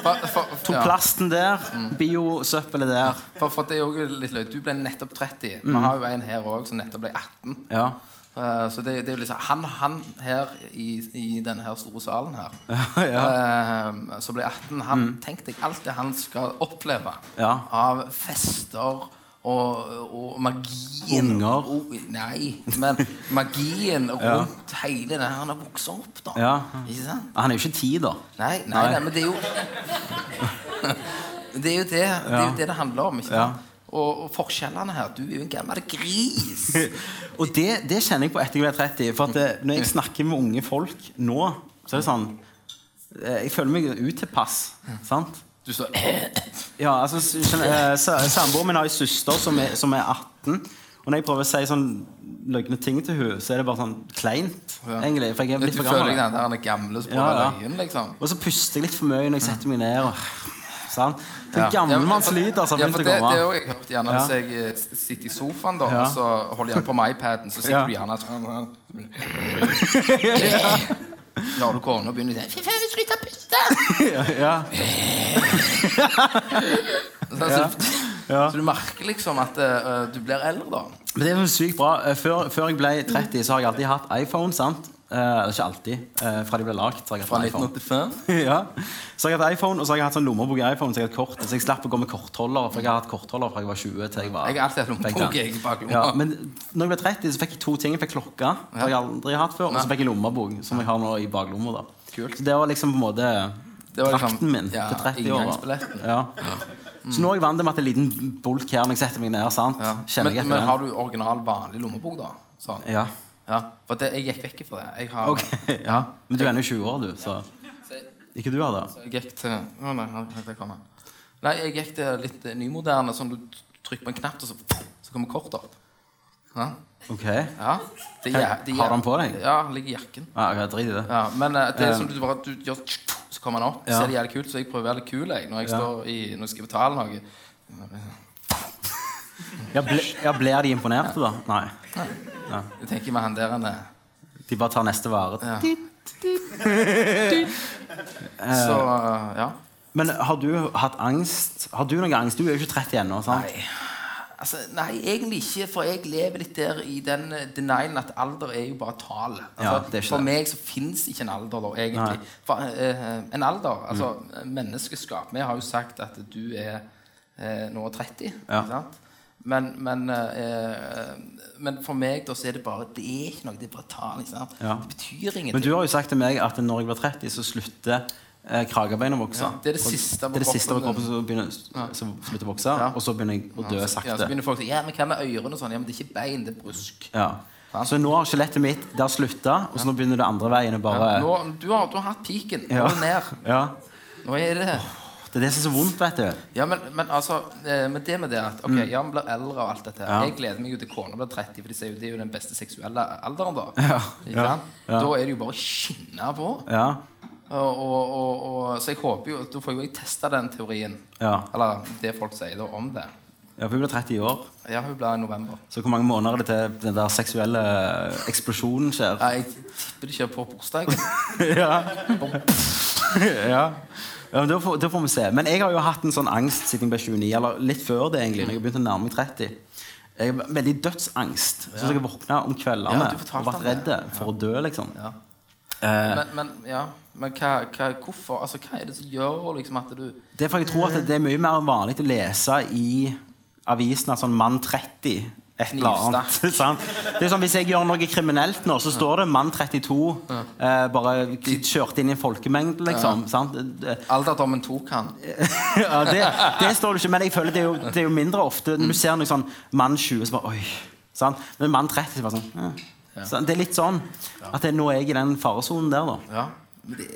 D: For, for,
C: Tok
D: ja. Mm.
C: plasten der, biosøppelet der.
D: For, for det er jo litt løy. Du ble nettopp 30.
C: Mm.
D: Vi har jo en her òg som nettopp ble 18.
C: Ja.
D: Eh, så det, det er jo liksom han, han her i, i denne her store salen her, eh, som ble 18 han, Tenk deg alt det han skal oppleve
C: Mm. Ja.
D: av fester og, og magien
C: Unger.
D: Og, nei, men magien rundt hele det han har vokst opp, da.
C: Ja.
D: Ikke sant?
C: Han er jo ikke ti, da.
D: Nei, nei,
C: Nei.
D: nei. men det er jo Det er jo det det, er jo det, det handler om. ikke sant? Og, og forskjellene her Du er jo en gammel gris.
C: Og det, det kjenner jeg på etter jeg ble 30. For at eh, når jeg snakker med unge folk nå, så er det sånn eh, Jeg føler meg utilpass. Sant?
D: Du står
C: Ja, altså s- skjønner- eh, sa- Samboeren min har en søster som er, som er 18. Og når jeg prøver å si sånn løgne ting til henne, så er det bare sånn kleint.
D: Ja.
C: egentlig, for jeg er
D: Du
C: litt for
D: føler deg
C: gammel.
D: den der den gamle som
C: Ja, ja.
D: prøver løgn, liksom.
C: Og så puster jeg litt for mye når jeg setter meg ned. Og, sant? Den
D: Ja,
C: gammelmannslyd altså,
D: for det,
C: begynte
D: det
C: å
D: er
C: komme.
D: jo jeg har hørt gjerne hvis jeg eh, s- sitter i sofaen, da, og så holder jeg på med iPaden, så
C: Ja.
D: sitter du gjerne sånn Når du går inn og begynner sånn, «Fy faen, slutt å puste!
C: Ja,
D: Så,
C: ja.
D: så du merker liksom at eh, du blir eldre, da.
C: Men det er jo sykt bra. Eh, Før, før jeg ble 30, så har jeg alltid hatt iPhone. sant? Eh, eller ikke alltid. eh, fra de ble lagd. Så har jeg
D: Fra
C: hatt iPhone.
D: 1985.
C: ja. Så har jeg hatt iPhone, og så har jeg hatt sånn lommebok i iPhone, så jeg har hatt kort. Så jeg slapp å gå med kortholder, for jeg har hatt kortholder fra jeg var 20 til jeg var
D: Jeg har alltid hatt lommebok, jeg, i baklomma.
C: Ja, men når jeg ble 30, så fikk jeg to ting. Jeg fikk klokka, som jeg aldri har hatt før, og så fikk jeg lommebok, som jeg har nå i baklomma. da.
D: Kult.
C: Så det var liksom på en måte
D: Det var liksom-
C: drakten min
D: ja,
C: til 30 år.
D: inngangsbilletten.
C: Ja. Så nå er jeg vant til med at det er en liten bulk her når jeg setter meg ned. sant?
D: Ja.
C: Kjenner
D: Men,
C: jeg etter
D: men
C: den.
D: har du original, vanlig lommebok, da? Sånn.
C: Ja.
D: Ja, For det, jeg gikk vekk fra det. Jeg, har,
C: Ok, ja. Men du er ennå 20 år, du, så Ikke du har det?
D: jeg gikk til Å, nei, nei, nei, der kom han. Nei, jeg gikk til litt eh, nymoderne, sånn du trykker på en knapp, og så, så kommer kortet opp. Ja.
C: Ok.
D: ja. Det, er- det er-
C: Har du den på deg?
D: Ja, den ligger i jakken.
C: Ja, ok, Drit i det.
D: Ja, men eh, det er som du bare du gjør tsk, tsk, Så kommer han opp.
C: Ja.
D: Ser det jævlig kult Så jeg prøver å være litt kul jeg, når jeg, står i, når jeg skal betale noe.
C: Ja, ble, ja, Blir de imponerte, da? Nei.
D: Jeg tenker med han der han er.
C: De bare tar neste vare.
D: Ja. Så eh, ja.
C: Men har du hatt angst? Har du noe angst? Du er jo ikke 30 ennå. sant?
D: Altså, nei, egentlig ikke, for jeg lever litt der i den eh, denialen at alder er jo bare tall. Altså,
C: Ja, det er ikke
D: for
C: det.
D: meg så fins ikke en alder, da, egentlig. For, eh, eh, en alder,
C: Mm.
D: altså menneskeskap Vi har jo sagt at du er eh, nå 30,
C: Ja.
D: ikke sant? Men, men, eh, eh, men for meg da så er det bare Det er ikke noe, det er bare tall. Ikke sant?
C: Ja.
D: Det betyr ingenting.
C: Men du har jo sagt til meg at når jeg blir 30, så slutter eh, kragebeinet å vokse.
D: Ja, det er det
C: Og
D: siste på
C: det er det siste på
D: kroppen.
C: kroppen som begynner- som slutter å vokse,
D: Ja.
C: og så begynner jeg å dø
D: Ja, så- Ja, så
C: sakte.
D: begynner folk å si Ja, men hva med ørene og sånn? Ja, men det er ikke bein, det er brusk.
C: Ja. Så nå har skjelettet mitt det har slutta, og så nå begynner det andre veien å bare
D: Nå, du, har, du har hatt piken. Nå
C: Ja.
D: er det ned.
C: Ja.
D: Nå er det
C: Det er det som er så vondt, vet du.
D: Ja, men, men altså eh, Men det med det at Ok, ja, man blir eldre og alt dette her.
C: Mm. Ja.
D: Jeg gleder meg jo til kona blir 30, for de sier jo det er jo den beste seksuelle alderen, da.
C: Ja.
D: Ikke
C: Ja.
D: sant? Da er det jo bare å skinne på.
C: Ja.
D: Og, og, og, og, så jeg håper jo Da får jo jeg testa den teorien.
C: Ja.
D: Eller det folk sier da om det.
C: ja, for hun blir 30 i år.
D: Ja, hun blir i november.
C: Så hvor mange måneder er det til den der seksuelle eh, eksplosjonen skjer?
D: Nei, jeg tipper det skjer på bursdagen.
C: ja. ja. ja men da, får, da får vi se. Men jeg har jo hatt en sånn angst siden jeg ble 29, eller litt før det, egentlig. Når jeg begynte å nærme meg 30. Jeg har veldig dødsangst. Så jeg våkna om kveldene
D: Ja, du fortalte
C: og vært
D: om det.
C: redd for å dø, liksom.
D: Ja.
C: Eh,
D: Men, men, ja. men hva, hva, hvorfor? Altså, hva er det som gjør liksom at du
C: det er for jeg tror at det er mye mer vanlig å lese i avisen at sånn mann 30 et eller annet.
D: Knivstakk.
C: sant? Det er sånn, Hvis jeg gjør noe kriminelt nå, så står det 'mann 32' eh, bare kjørte inn i en folkemengde, liksom. sant? Det-
D: Alderdommen tok han.
C: Ja, det, det står det ikke, men jeg føler det er jo, det er jo mindre ofte når du ser noe sånn mann 20 så bare, Oi. Sant? Men mann 30 så bare sånn «Hm». Så Det er litt sånn at det, nå er jeg i den faresonen der, da.
D: Ja, men det,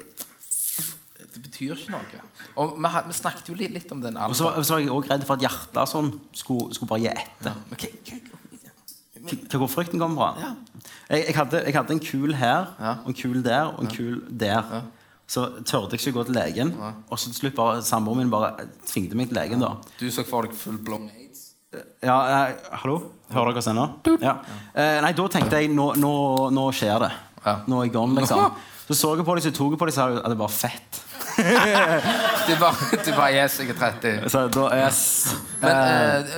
D: det betyr ikke noe. Og vi, har- vi snakket jo litt, litt om den
C: Og så,
D: alderen.
C: var- så var jeg også redd for at hjertet sånn skulle, skulle bare gi etter.
D: Men hva- hva-
C: K- Hvor frykten kommer fra. Jeg, jeg, hadde, jeg hadde en kul her,
D: Ja.
C: og en kul der og en kul der. Så tørde jeg ikke gå til legen. Og så til slutt bare samboeren min bare tvingte meg til legen. da
D: Du så for deg full blond aids?
C: Ja, nei, hallo? Hører dere oss ennå? Ja. Eh, nei, da tenkte jeg nå, nå, nå skjer det.
D: Ja.
C: Nå er jeg gone, liksom. Så så jeg på dem, så tok jeg på dem, så sa jeg at det var fett.
D: Du bare, du bare Yes, jeg er 30.
C: Så da er jeg...
D: Men eh,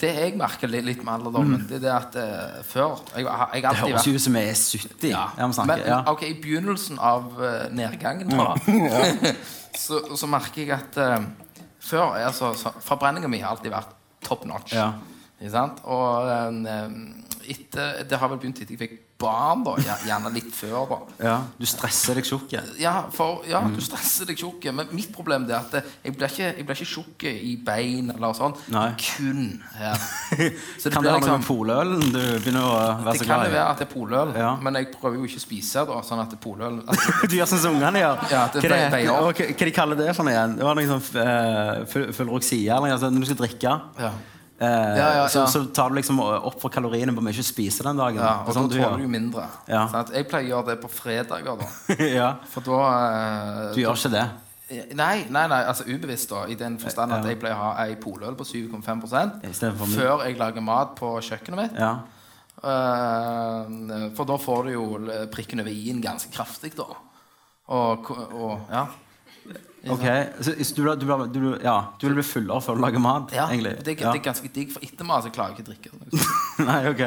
D: det jeg merker litt, litt med alderdommen, det er det at eh, før Jeg har jeg har
C: Det
D: alltid
C: høres
D: vært
C: jo ut som jeg er 70. Ja, vi
D: men,
C: snakker. ja. Mm.
D: ok, I begynnelsen av eh, nedgangen da, så, så merker jeg at eh, før altså, så, Forbrenninga mi har alltid vært top notch.
C: Ja.
D: Ikke sant? Og eh, etter, det har vel begynt etter jeg fikk barn, da. gjer- Gjerne litt før. da
C: ja. Du stresser deg tjukk.
D: ja, for, ja,
C: Mm.
D: du stresser deg tjukk. Men mitt problem er at eh, jeg blir ikke, jeg blir ikke tjukk i bein eller sånn.
C: Nei.
D: Kun her. Så liksom,
C: Kan det ha noe med polølen du begynner å være
D: det
C: så
D: kan jo
C: glad i?
D: være at det er poløl,
C: Ja.
D: men jeg prøver jo ikke å spise da, sånn at det er poløl altså,
C: Du gjør sånn som ungene gjør.
D: Ja, det
C: hva, det,
D: veier- veier
C: og,
D: opp.
C: hva, hva de kaller det for noe igjen? Det var noe sånn eh, full- fullroxia eller noe sånt. Når du skal drikke,
D: Ja.
C: eh,
D: Ja, ja,
C: Så,
D: ja.
C: så tar du liksom opp for kaloriene på mye du spiser den dagen.
D: ja,
C: Det
D: Og
C: er sånn
D: da
C: du
D: tåler
C: gjør.
D: du jo mindre.
C: Ja.
D: Sant? jeg pleier å gjøre det på fredager, da.
C: ja,
D: For da eh,
C: du gjør ikke det.
D: Nei, nei, nei, altså ubevisst, da. I den forstand at jeg pleier å ha ei poløl på 7,5
C: I stedet for min-
D: før jeg lager mat på kjøkkenet mitt.
C: Ja.
D: Eh, for da får du jo l- prikken over i-en ganske kraftig, da. Og, ko- og ja.
C: Ok, så så du, ble- du, ble- du, ble- ja, du vil bli fullere før du lager mat?
D: ja
C: egentlig?
D: det, er- det
C: ja.
D: er ganske digg, for etter mat så klarer jeg ikke å drikke.
C: Nei, ok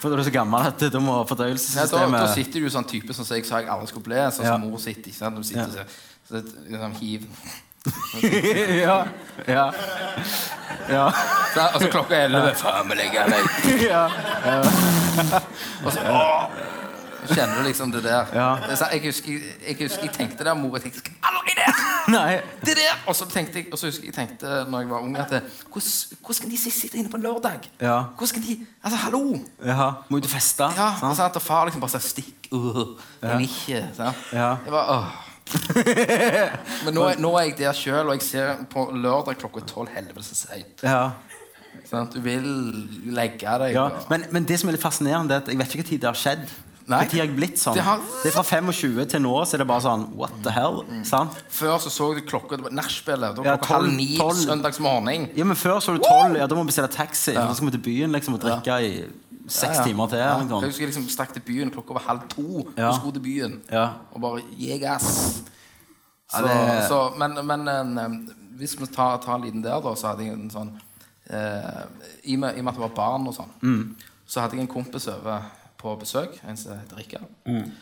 C: For du er så gammel at da må
D: Ja, da, da
C: fordøyelsessystemet
D: sitter du jo sånn type som jeg sa jeg aldri skulle bli. Sånn
C: Ja.
D: som mor sitter. ikke sant? Du sitter
C: Ja.
D: så, så, liksom, hiv.
C: ja, ja,
D: Så, og så klokka er 11. Faen, vi legger deg.
C: ja.
D: Og så åh, kjenner du liksom det der.
C: Ja.
D: Det er sånn, jeg, husker, jeg, husker jeg tenkte der, mor jeg tenkte, "Jeg skal aldri der!
C: Nei.
D: det der! Og så tenkte jeg, og så husker jeg tenkte når jeg var ung, at det, hvordan, hvordan kan de sitte inne på en lørdag?
C: Ja.
D: Hvordan kan de Altså, hallo!
C: Jaha. Må ut og feste.
D: Ja,
C: sant?
D: sant? Og far liksom bare sa 'stikk', uh, ja. men ikke sant?
C: Ja.
D: Jeg bare, åh. Men nå, er- nå er jeg der sjøl, og jeg ser på lørdag klokka tolv helvetes seint.
C: Ja.
D: sant? Du vil legge deg.
C: Ja.
D: og-
C: Men, men det som er litt fascinerende, er at jeg vet ikke når det har skjedd.
D: Nei.
C: Når har jeg blitt sånn?
D: Det
C: Det,
D: har-
C: er fra 25 til nå, så er det bare sånn What the hell?
D: Mm.
C: Sant?
D: Før så så du klokka det var Nachspielet. Da var
C: Ja,
D: klokka halv
C: tolv-
D: ni
C: tolv.
D: søndags morgen.
C: Ja, men Før så var du tolv. Ja, da må vi bestille taxi. Så skal vi til byen liksom, og drikke i seks timer til.
D: Ja,
C: eller noe
D: Jeg
C: sånt.
D: husker jeg liksom stakk til byen klokka var halv to.
C: Ja.
D: Og skulle til byen.
C: Ja.
D: Og bare Jeg ass. Så,
C: Ja, det-
D: så, men, men eh, hvis vi tar, tar en liten der, da, så hadde jeg en sånn eh, i, og med, I og med at jeg var barn og sånn,
C: Mm.
D: så hadde jeg en kompis over på besøk. En som heter Rikard.
C: Mm.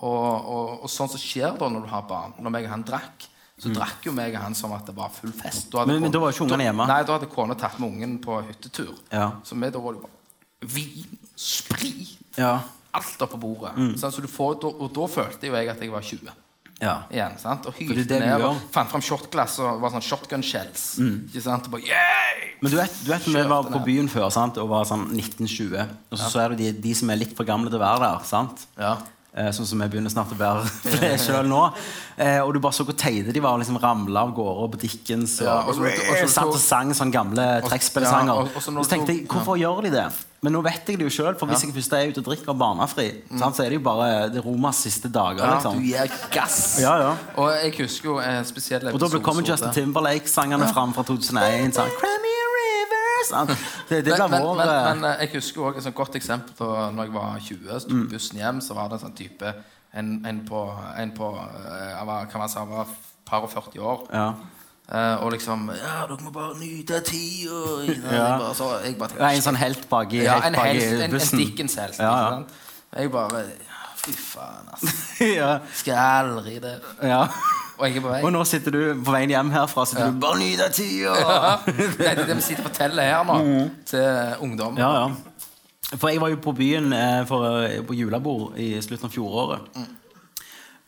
D: Og, og, og sånn som skjer da når du har barn. Når meg og han drakk, så drakk jo meg og han som at det var full fest. Da hadde
C: Mm. Men- men
D: kone-
C: da var jo ikke ungene hjemme.
D: Nei, da hadde kona tatt med ungen på hyttetur.
C: Ja.
D: Så vi da var det jo bare vin, sprit,
C: Ja.
D: alt oppå bordet.
C: Mm.
D: Sant? Så du får, da, og da følte jo jeg at jeg var 20
C: Ja.
D: igjen. sant? Og
C: det er det
D: hylte
C: du
D: ned og
C: gjør. Mm.
D: fant fram shotglass og var sånn shotgun shells. Ikke sant? Og bare, yeah!
C: Men du vet, du vet når vi
D: Kjørte
C: var på
D: ned.
C: byen før sant? og var sånn 1920, og så, så er det de, de som er litt for gamle til å være der. sant?
D: Ja.
C: Eh, sånn som jeg begynner snart å være sjøl nå. Eh, og du bare så hvor teite de var. og liksom Ramla av gårde på Dickens og,
D: Ja, og så- og så- og så-
C: satt og sang sånne gamle
D: Og-
C: trekkspillsanger.
D: ja, og- og
C: og,
D: så når
C: så tenkte jeg
D: du-
C: hvorfor gjør de det? Men nå vet jeg det jo sjøl, for hvis jeg først er ute og drikker og barnefri, sant, så er det jo bare det Romas siste dager.
D: Mm. Ja,
C: liksom.
D: du gir gass!
C: Ja, ja.
D: Og jeg husker jo eh, en spesiell
C: Og da ble- kommer Justin Timberlake-sangene fram fra 2001. Sånn, Crimea River sant? Det, det
D: men,
C: blir
D: men,
C: vår
D: men,
C: eh,
D: men eh, jeg husker også et sånt godt eksempel da når jeg var 20. Så
C: Mm.
D: tok bussen hjem, så var det en sånn type En, en på, en på eh, han var, Kan man si han var par og 40 år.
C: Ja.
D: Eh, og liksom Ja, dere må bare nyte tida. Jeg
C: Ja.
D: bare, så, jeg bare
C: Det er en sånn helt baki
D: ja,
C: helt
D: en,
C: baki
D: helst, en, en
C: bussen.
D: Dickens helst.
C: Ja, ja.
D: ikke sant? Jeg bare Fy faen, altså.
C: ja,
D: Skal jeg aldri det?
C: ja.
D: Og jeg er på vei.
C: Og nå sitter du på veien hjem herfra sitter du bare nyt av tida!
D: Ja. Det er det vi sitter og forteller her nå, til ungdom.
C: Mm. Ja, ja. For jeg var jo på byen eh, for, eh, på julebord i slutten av fjoråret.
D: Mm.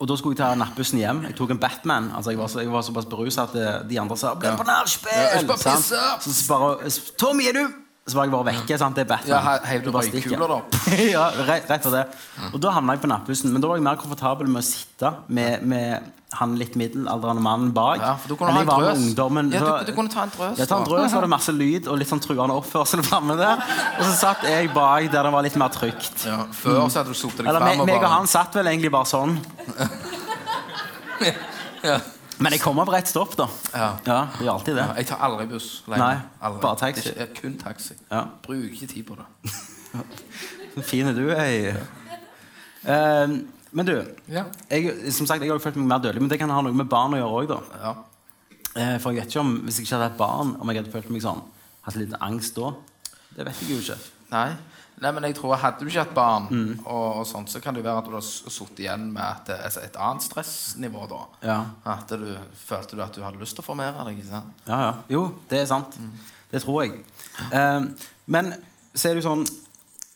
C: Og da skulle jeg ta nattbussen hjem. Jeg tok en Batman. Altså, jeg, var så, jeg var såpass berusa at eh, de andre sa 'Bli på
D: Ja, jeg
C: nachspiel!'
D: skal bare
C: sant?
D: pisse.
C: så s- bare s- 'Tommy, er du?' Så var jeg bare vekke. sant? Det er Batman.
D: Ja, he- heiv du
C: bare
D: røykkuler
C: stikker.
D: da?
C: ja, rett, rett for det. Og da havna jeg på nattbussen. Men da var jeg mer komfortabel med å sitte med, med han litt middelaldrende mannen bak.
D: Ja, for du kunne
C: enn
D: ha
C: jeg
D: en
C: var med
D: drøs.
C: ungdommen.
D: Ja,
C: Så-
D: du- du kunne ta en drøs,
C: Ja, ta en
D: da.
C: drøs, var det masse lyd og litt sånn truende oppførsel framme der. Og så satt jeg bak der det var litt mer trygt.
D: Ja, Før så hadde du sopt deg
C: Eller meg,
D: fram.
C: meg og han satt vel egentlig bare sånn.
D: ja.
C: Men jeg kom opp rett stopp, da.
D: Ja.
C: Ja, det gjør alltid det.
D: Jeg tar aldri buss. alene.
C: Nei,
D: Aldri.
C: bare taxi.
D: Det er ikke- kun taxi.
C: Ja.
D: Bruker ikke tid på det.
C: Så fin er du, jeg. Eh, men du,
D: Ja.
C: jeg, som sagt, jeg har jo følt meg mer dødelig, men det kan ha noe med barn å gjøre òg, da.
D: Ja.
C: Eh, for jeg vet ikke om, hvis jeg ikke hadde hatt barn, om jeg hadde følt meg sånn, hatt litt angst da. Det vet jeg jo ikke.
D: Nei. Nei, men jeg tror Hadde du ikke hatt barn,
C: Mm.
D: og, og sånt, så kan det jo være at du har sittet igjen med et, altså et annet stressnivå. da.
C: Ja.
D: At du følte du at du hadde lyst til å formere deg. ikke sant?
C: Ja, ja. Jo, det er sant.
D: Mm.
C: Det tror jeg. Ehm, men så er det jo sånn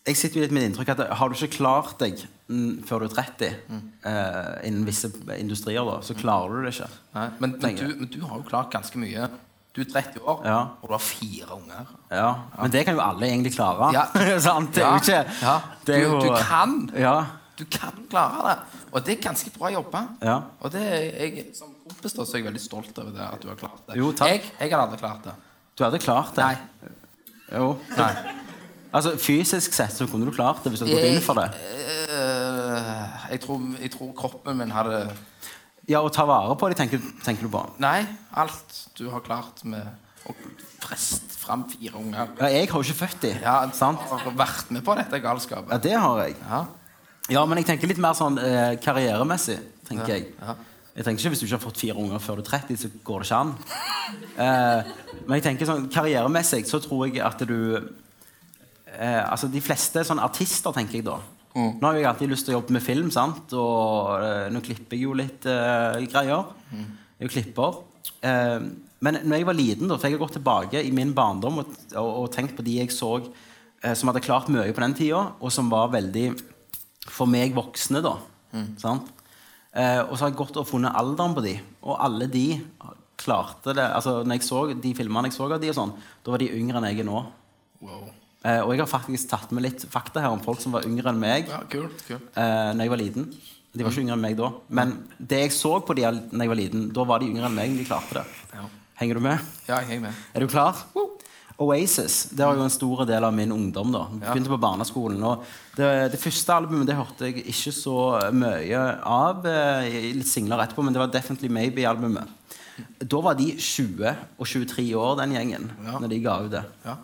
C: Jeg sitter jo litt med det inntrykk at har du ikke klart deg mm, før du er 30 eh, innen visse industrier, da,
D: Mm.
C: så klarer du det ikke.
D: Nei. Men, men,
C: Tenker
D: du,
C: jeg.
D: men du har jo klart ganske mye. Du er 30 år,
C: Ja.
D: og du har fire unger.
C: Ja. Men det kan jo alle egentlig klare.
D: Ja.
C: sant? Det er jo ikke
D: Ja.
C: det er
D: Du-
C: jo,
D: du kan.
C: Ja.
D: Du kan klare det. Og det er ganske bra jobba.
C: Ja.
D: Og det er jeg, som kompis da, så er jeg veldig stolt over det at du har klart det.
C: Jo, takk.
D: Jeg, jeg hadde aldri klart det.
C: Du hadde klart det.
D: Nei.
C: Jo. Altså, fysisk sett så kunne du klart det hvis du hadde gått
D: Jeg-
C: inn for det.
D: Eh, jeg, tror, jeg tror kroppen min hadde
C: Ja, Å ta vare på det, tenker, tenker du på.
D: Nei, alt du har klart med å freste fram fire unger
C: Ja, jeg har jo ikke født de.
D: Ja,
C: sant?
D: Har vært med på dette galskapet.
C: Ja, det har jeg.
D: Ja.
C: Ja, men jeg tenker litt mer sånn eh, karrieremessig. tenker
D: Ja,
C: jeg.
D: ja.
C: Jeg tenker ikke Hvis du ikke har fått fire unger før du er 30, så går det ikke an. Eh, men jeg tenker sånn, karrieremessig så tror jeg at du eh, altså De fleste er sånn artister, tenker jeg da. Nå har jeg alltid lyst til å jobbe med film, sant? og eh, nå klipper jeg jo litt eh, greier. Jeg er jo klipper. Eh, men når jeg var liten, da, for jeg har gått tilbake i min barndom og, og, og tenkt på de jeg så eh, som hadde klart mye på den tida, og som var veldig For meg voksne, da. Sant? Eh, og så har jeg gått og funnet alderen på de. Og alle de klarte det. altså når jeg så De filmene jeg så av de og sånn, da var de yngre enn jeg er nå.
D: Wow.
C: Eh, og jeg har faktisk tatt med litt fakta her om folk som var yngre enn meg
D: Ja, kult, kult.
C: eh, når jeg var liten. De var ikke yngre enn meg da. Men det jeg så på de all- når jeg var liten, da var de yngre enn meg. men De klarte det.
D: Ja.
C: Henger du med?
D: Ja, jeg er med.
C: Er du klar? Oasis det var jo en stor del av min ungdom. da Jeg Begynte på barneskolen. og Det, det første albumet det hørte jeg ikke så mye av. eh, i Litt singler etterpå, men det var Definitely Maybe-albumet. Da var de 20 og 23 år, den gjengen,
D: Ja.
C: når de ga ut det.
D: Ja.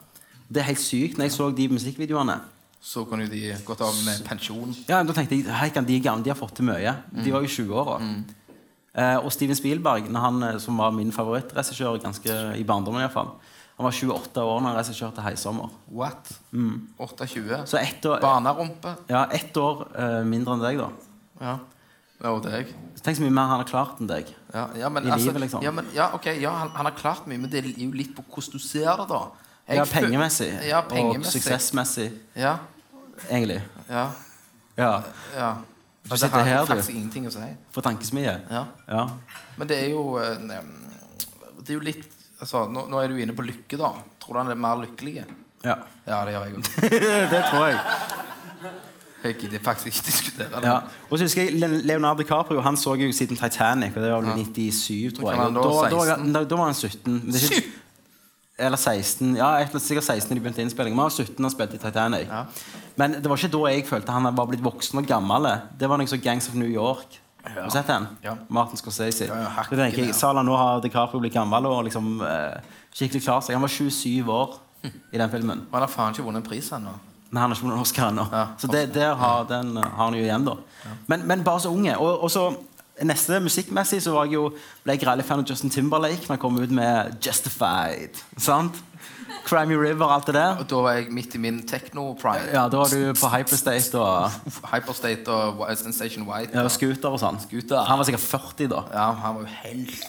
C: Det er helt sykt. Når jeg så de musikkvideoene,
D: Så kunne jo de gått av med pensjon.
C: ja, men da tenkte jeg hei, kan de, gamle, de har fått til mye. De var jo 20-åra.
D: Mm.
C: Eh, og Steven Spielberg, når han, eh, som var min favorittregissør ganske i barndommen i hvert fall, han var 28 år når han regisserte 'Heisommer'.
D: What?
C: Mm.
D: 28?
C: Så ett år,
D: Barnerumpe?
C: ja, ett år eh, mindre enn deg, da.
D: Ja. Ja, og deg.
C: Så tenk så mye mer han har klart enn deg.
D: Ja, ja, men,
C: I
D: altså,
C: livet, liksom.
D: Ja, men, ja, ok, ja han, han har klart mye, men det er jo litt på hvordan du ser det, da. Jeg
C: Ja,
D: føl-
C: pengemessig,
D: Ja,
C: og
D: pengemessig.
C: suksessmessig,
D: Ja,
C: egentlig.
D: ja,
C: Ja,
D: ja.
C: Du
D: Altså,
C: sitter
D: det
C: her,
D: har
C: du.
D: faktisk ingenting å si.
C: For tankesmie.
D: Ja.
C: Ja.
D: Men det er jo eh, Det er jo litt altså, nå, nå er du inne på lykke, da. Tror du han er mer lykkelig?
C: ja.
D: Ja, det gjør jeg òg.
C: det tror jeg.
D: Jeg gidder faktisk ikke diskutere det.
C: Ja. Og så husker jeg Le- Leonardo DiCaprio han så jeg jo siden Titanic. Og det var vel 97, tror
D: Da
C: jeg.
D: kan han da
C: da,
D: være
C: da,
D: 16.
C: da, da var han 17. Men det er ikke, eller 16. Ja, jeg er sikkert 16 da de begynte innspillingen. Men han var 17 da han spilte i Titanic.
D: Ja.
C: Men det var ikke da jeg følte han var blitt voksen og gammel. Det var når jeg så Gangs of New York. Har du sett den?
D: Ja.
C: Martin Scorsese.
D: Ja, ja, hakken,
C: da tenker
D: ja.
C: jeg, Sala, nå har DiCaprio blitt gammel og liksom eh, skikkelig klar seg. Han var 27 år i den filmen.
D: Men han har faen ikke vunnet en pris ennå.
C: Men han har ikke vunnet Oscar ennå.
D: Ja.
C: så det, der har, den, eh, har han jo igjen, da. Men, men bare så unge. Og, og så neste musikkmessig så var jeg jo, ble jeg rallyfan av Justin Timberlake når han kom ut med 'Justified'. Sant? Crimey River og alt det der.
D: Og da var jeg midt i min techno-pride.
C: Ja, da var du på Hyperstate og,
D: Hyperstate og Wi- Sensation White.
C: ja, og scooter og sånn. Han var sikkert 40 da.
D: Ja, han var jo helt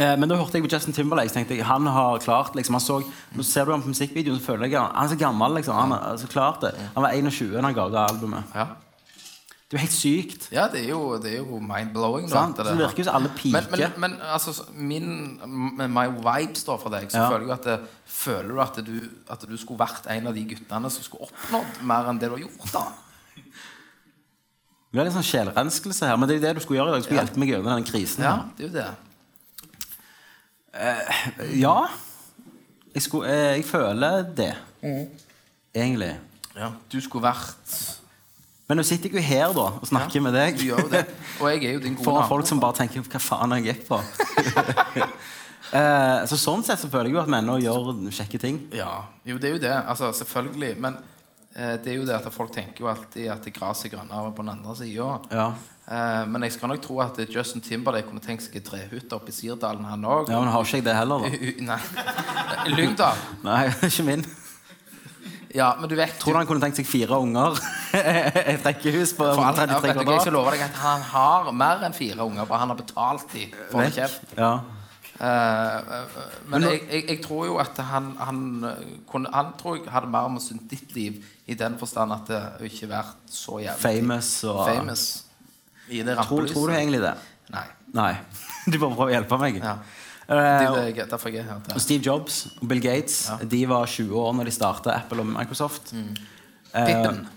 C: Eh, men da hørte jeg på Justin Timberlake. Så tenkte jeg, han har klart liksom, han så, Nå ser du ham på musikkvideoen, så føler jeg han, han er så gammel. liksom Han har så klart det Han var 21 da han ga ut det albumet.
D: Ja,
C: Det er jo helt sykt.
D: ja det, er jo, det er jo mind-blowing. da,
C: Sant?
D: det
C: Så
D: der.
C: det virker jo som alle
D: men,
C: piker.
D: men, men altså, så- min m- My vibes da for deg, så
C: Ja.
D: føler jeg at det, Føler du at du, at du skulle vært en av de guttene som skulle oppnådd mer enn det du har gjort? da
C: Det er litt sånn sjelrenskelse her, men det er jo det du skulle gjøre i dag. Du skulle hjelpe meg gjennom denne krisen.
D: Ja,
C: her.
D: det er jo det.
C: Eh, ja. Jeg, skulle, eh, jeg føler det.
D: Mm.
C: Egentlig.
D: Du skulle vært
C: Men nå sitter jeg jo her da og snakker med deg.
D: Du gjør jo det. Og jeg er jo din gode
C: Foran
D: nabo.
C: folk som bare tenker 'hva faen har jeg gikk på'? Eh, så Sånn sett så føler jeg jo at vi ennå gjør kjekke ting.
D: Ja, jo, det er jo det. Altså, selvfølgelig. Men eh, det er jo det at folk tenker jo alltid at gresset er grønnere på den andre sida.
C: Ja.
D: Eh, men jeg skal nok tro at Justin Timberlake kunne tenkt seg en trehytte oppe i Sirdalen, han òg.
C: ja, men har ikke jeg det heller, da?
D: Nei. Lyngdal.
C: Nei, ikke min.
D: Ja, men du vet
C: Tror du han kunne tenkt seg fire unger? Et rekkehus på
D: for alt, ja,
C: 33
D: vet du, hva, Jeg skal
C: kvadrat?
D: love deg at han har mer enn fire unger, for han har betalt de for å holde
C: Vekk.
D: kjeft.
C: Ja.
D: Eh, eh, men jeg, jeg, jeg tror jo at han, han eh, kunne Han tror jeg hadde mer om sin ditt liv i den forstand at det har ikke vært så jævlig
C: Famous og
D: famous i det
C: Tror,
D: rampelyset.
C: tror du egentlig det?
D: Nei.
C: Nei. Du bare prøver å hjelpe meg.
D: Ja. Det
C: Eh,
D: er det jeg, derfor jeg er her.
C: og
D: til.
C: Steve Jobs og Bill Gates De var 20 år når de starta Apple og Microsoft. Eh,
D: Mm. Pippen.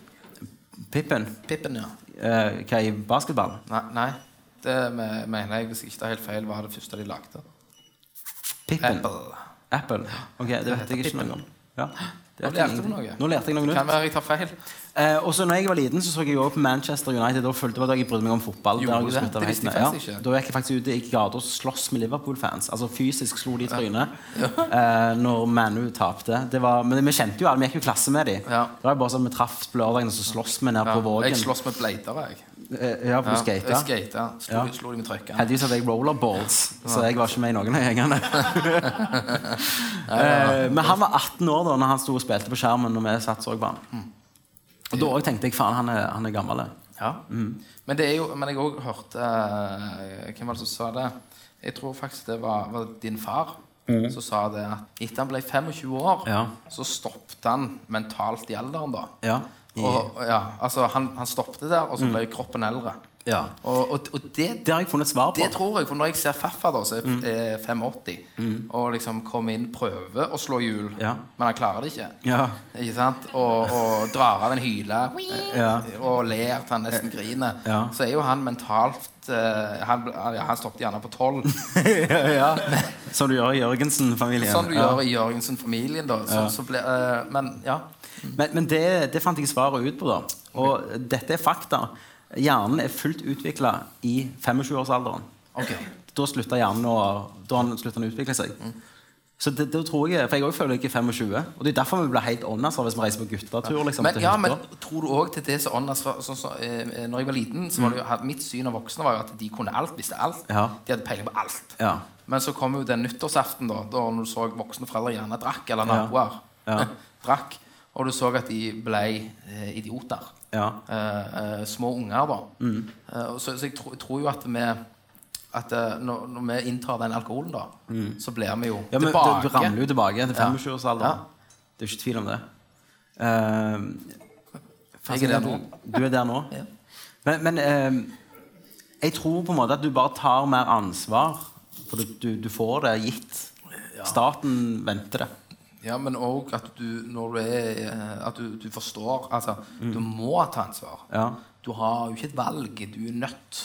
C: Pippen.
D: Pippen, ja.
C: eh, hva i basketball?
D: Nei, nei. Det me- mener jeg, hvis jeg ikke tar helt feil, var det første de lagde.
C: Pippen. Apple.
D: Apple.
C: Ok, Det vet jeg ikke noe om. Ja. det vet
D: Nå
C: jeg
D: lærte du
C: ingenting.
D: noe.
C: Nå lærte jeg noe
D: Kan
C: nytt.
D: være jeg tar feil.
C: Eh, og så når jeg var liten, så så jeg jo på Manchester United. Da følte jeg at jeg brydde meg om fotball.
D: Gjorde
C: Der har jeg
D: du det?
C: sluttet
D: Det visste jeg
C: helt med.
D: faktisk
C: ja.
D: ikke.
C: Da gikk jeg faktisk ut i gata og sloss med Liverpool-fans. Altså Fysisk slo de i trynet eh, når ManU tapte. Det var, men vi kjente jo alle, vi gikk jo i klasse med dem.
D: Ja.
C: Det var jo bare sånn, Vi traff på lørdagen og så sloss vi ned
D: Ja.
C: på Vågen.
D: Jeg slåss med bleiter, jeg.
C: eh, Ja, for du skata.
D: Skate, ja. Slo,
C: Ja.
D: slo de med trøkken.
C: Heldigvis hadde jeg rollerboards, så jeg var ikke med i noen av gjengene. Eh, Men han var 18 år da når han sto og spilte på skjermen, og vi satt og så på
D: Mm.
C: han. Og da også tenkte jeg faen, han er, han er gammel. jeg.
D: Ja.
C: Mm.
D: Men, det er jo, men jeg har òg hørt eh, Hvem var det som sa det? Jeg tror faktisk det var, var det din far som sa det. at Etter han ble 25 år,
C: Mm. Ja.
D: så stoppet han mentalt i alderen, da.
C: Ja. Mm.
D: Og, ja, altså han, han stoppet der, og så ble kroppen eldre.
C: Ja.
D: Og, og, og det
C: Det har jeg funnet svar på.
D: Det tror jeg, for når jeg ser Faffa da, som er
C: Mm.
D: f- er 85, og liksom kommer inn, prøver å slå hjul,
C: Ja.
D: men han klarer det ikke.
C: Ja.
D: Ikke sant? Og, og drar av en hyle
C: Ja.
D: og ler til han nesten griner.
C: Ja.
D: Så er jo han mentalt eh, Han, ja, han stoppet gjerne på tolv.
C: ja. Som du gjør i Jørgensen-familien.
D: Sånn du
C: Ja.
D: gjør i Jørgensen-familien. da så, så ble, eh, Men ja.
C: Men, men det, det fant jeg svaret ut på, da. Og dette er fakta. Hjernen er fullt utvikla i 25-årsalderen.
D: Ok.
C: Da slutta hjernen å da han slutta den å utvikle seg.
D: Mm.
C: Så det, det tror jeg, For jeg også føler jeg er 25. Og det er derfor vi blir helt åndas hvis vi reiser på guttetur. Liksom,
D: Men,
C: til
D: ja,
C: hytta.
D: men tror du òg til det som Åndas var så, så, eh, Når jeg var liten, så var det jo, had- mitt syn av voksne var jo at de kunne alt, visste alt.
C: Mm. Ja.
D: De hadde peiling på alt.
C: ja.
D: Men så kom jo den nyttårsaften, da, da når du så voksne foreldre gjerne drakk, eller
C: Ja.
D: naboer
C: Ja.
D: drakk, og du så at de ble eh, idioter.
C: Ja.
D: Eh, eh, små unger, da.
C: Mm.
D: Eh, og så så jeg, tro, jeg tror jo at vi at eh, når, når vi inntar den alkoholen, da, så blir vi jo
C: Mm. Ja, men du,
D: tilbake.
C: du ramler jo tilbake til
D: Ja.
C: 25-årsalderen. Det er ikke tvil om det. Eh,
D: Jeg er der nå.
C: Du er der nå?
D: Ja.
C: Men, men eh, jeg tror på en måte at du bare tar mer ansvar. For du, du, du får det gitt. Staten venter det.
D: Ja, men òg at du når du er eh, At du, du forstår Altså, du må ta ansvar.
C: Mm. Ja.
D: Du har jo ikke et valg. Du er nødt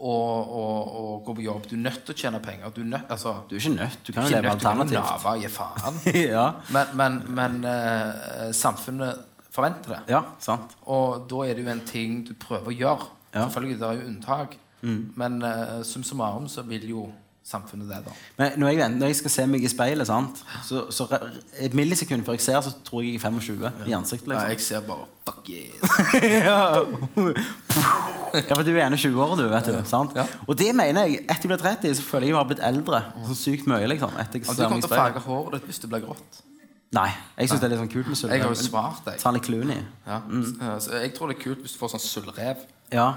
D: å, å, å gå på jobb. Du er nødt til å tjene penger. Du er nødt, altså,
C: Du er ikke nødt. Du kan jo
D: ikke
C: leve
D: nødt til å kunne
C: alternativt.
D: lave, gi faen.
C: ja.
D: Men, men, men eh, samfunnet forventer det.
C: ja, sant.
D: Og da er det jo en ting du prøver å gjøre.
C: Ja. Mm.
D: Selvfølgelig, det er jo unntak. Men eh, sum summarum så vil jo samfunnet det, da.
C: Men når jeg, når jeg skal se meg i speilet, sant? Så, så re- et millisekund før jeg ser, så tror jeg jeg er 25 i ansiktet.
D: Nei,
C: Liksom.
D: jeg ser bare Fuck yes.
C: Ja, for du er gjerne 20 år, du. vet du, sant?
D: Ja.
C: Og det mener jeg. Etter jeg ble 30, så føler jeg jeg har blitt eldre. Så sykt mye, liksom. Etter jeg
D: Og du
C: ser meg
D: kommer
C: i
D: til å
C: speilet.
D: farge håret ditt hvis det blir grått.
C: Nei, jeg syns det er litt sånn kult med
D: Jeg har jo
C: sølvrev.
D: svart deg.
C: Sally Clooney.
D: Ja.
C: Mm.
D: Eh, Så jeg tror det er kult hvis du får sånn sølvrev.
C: Ja.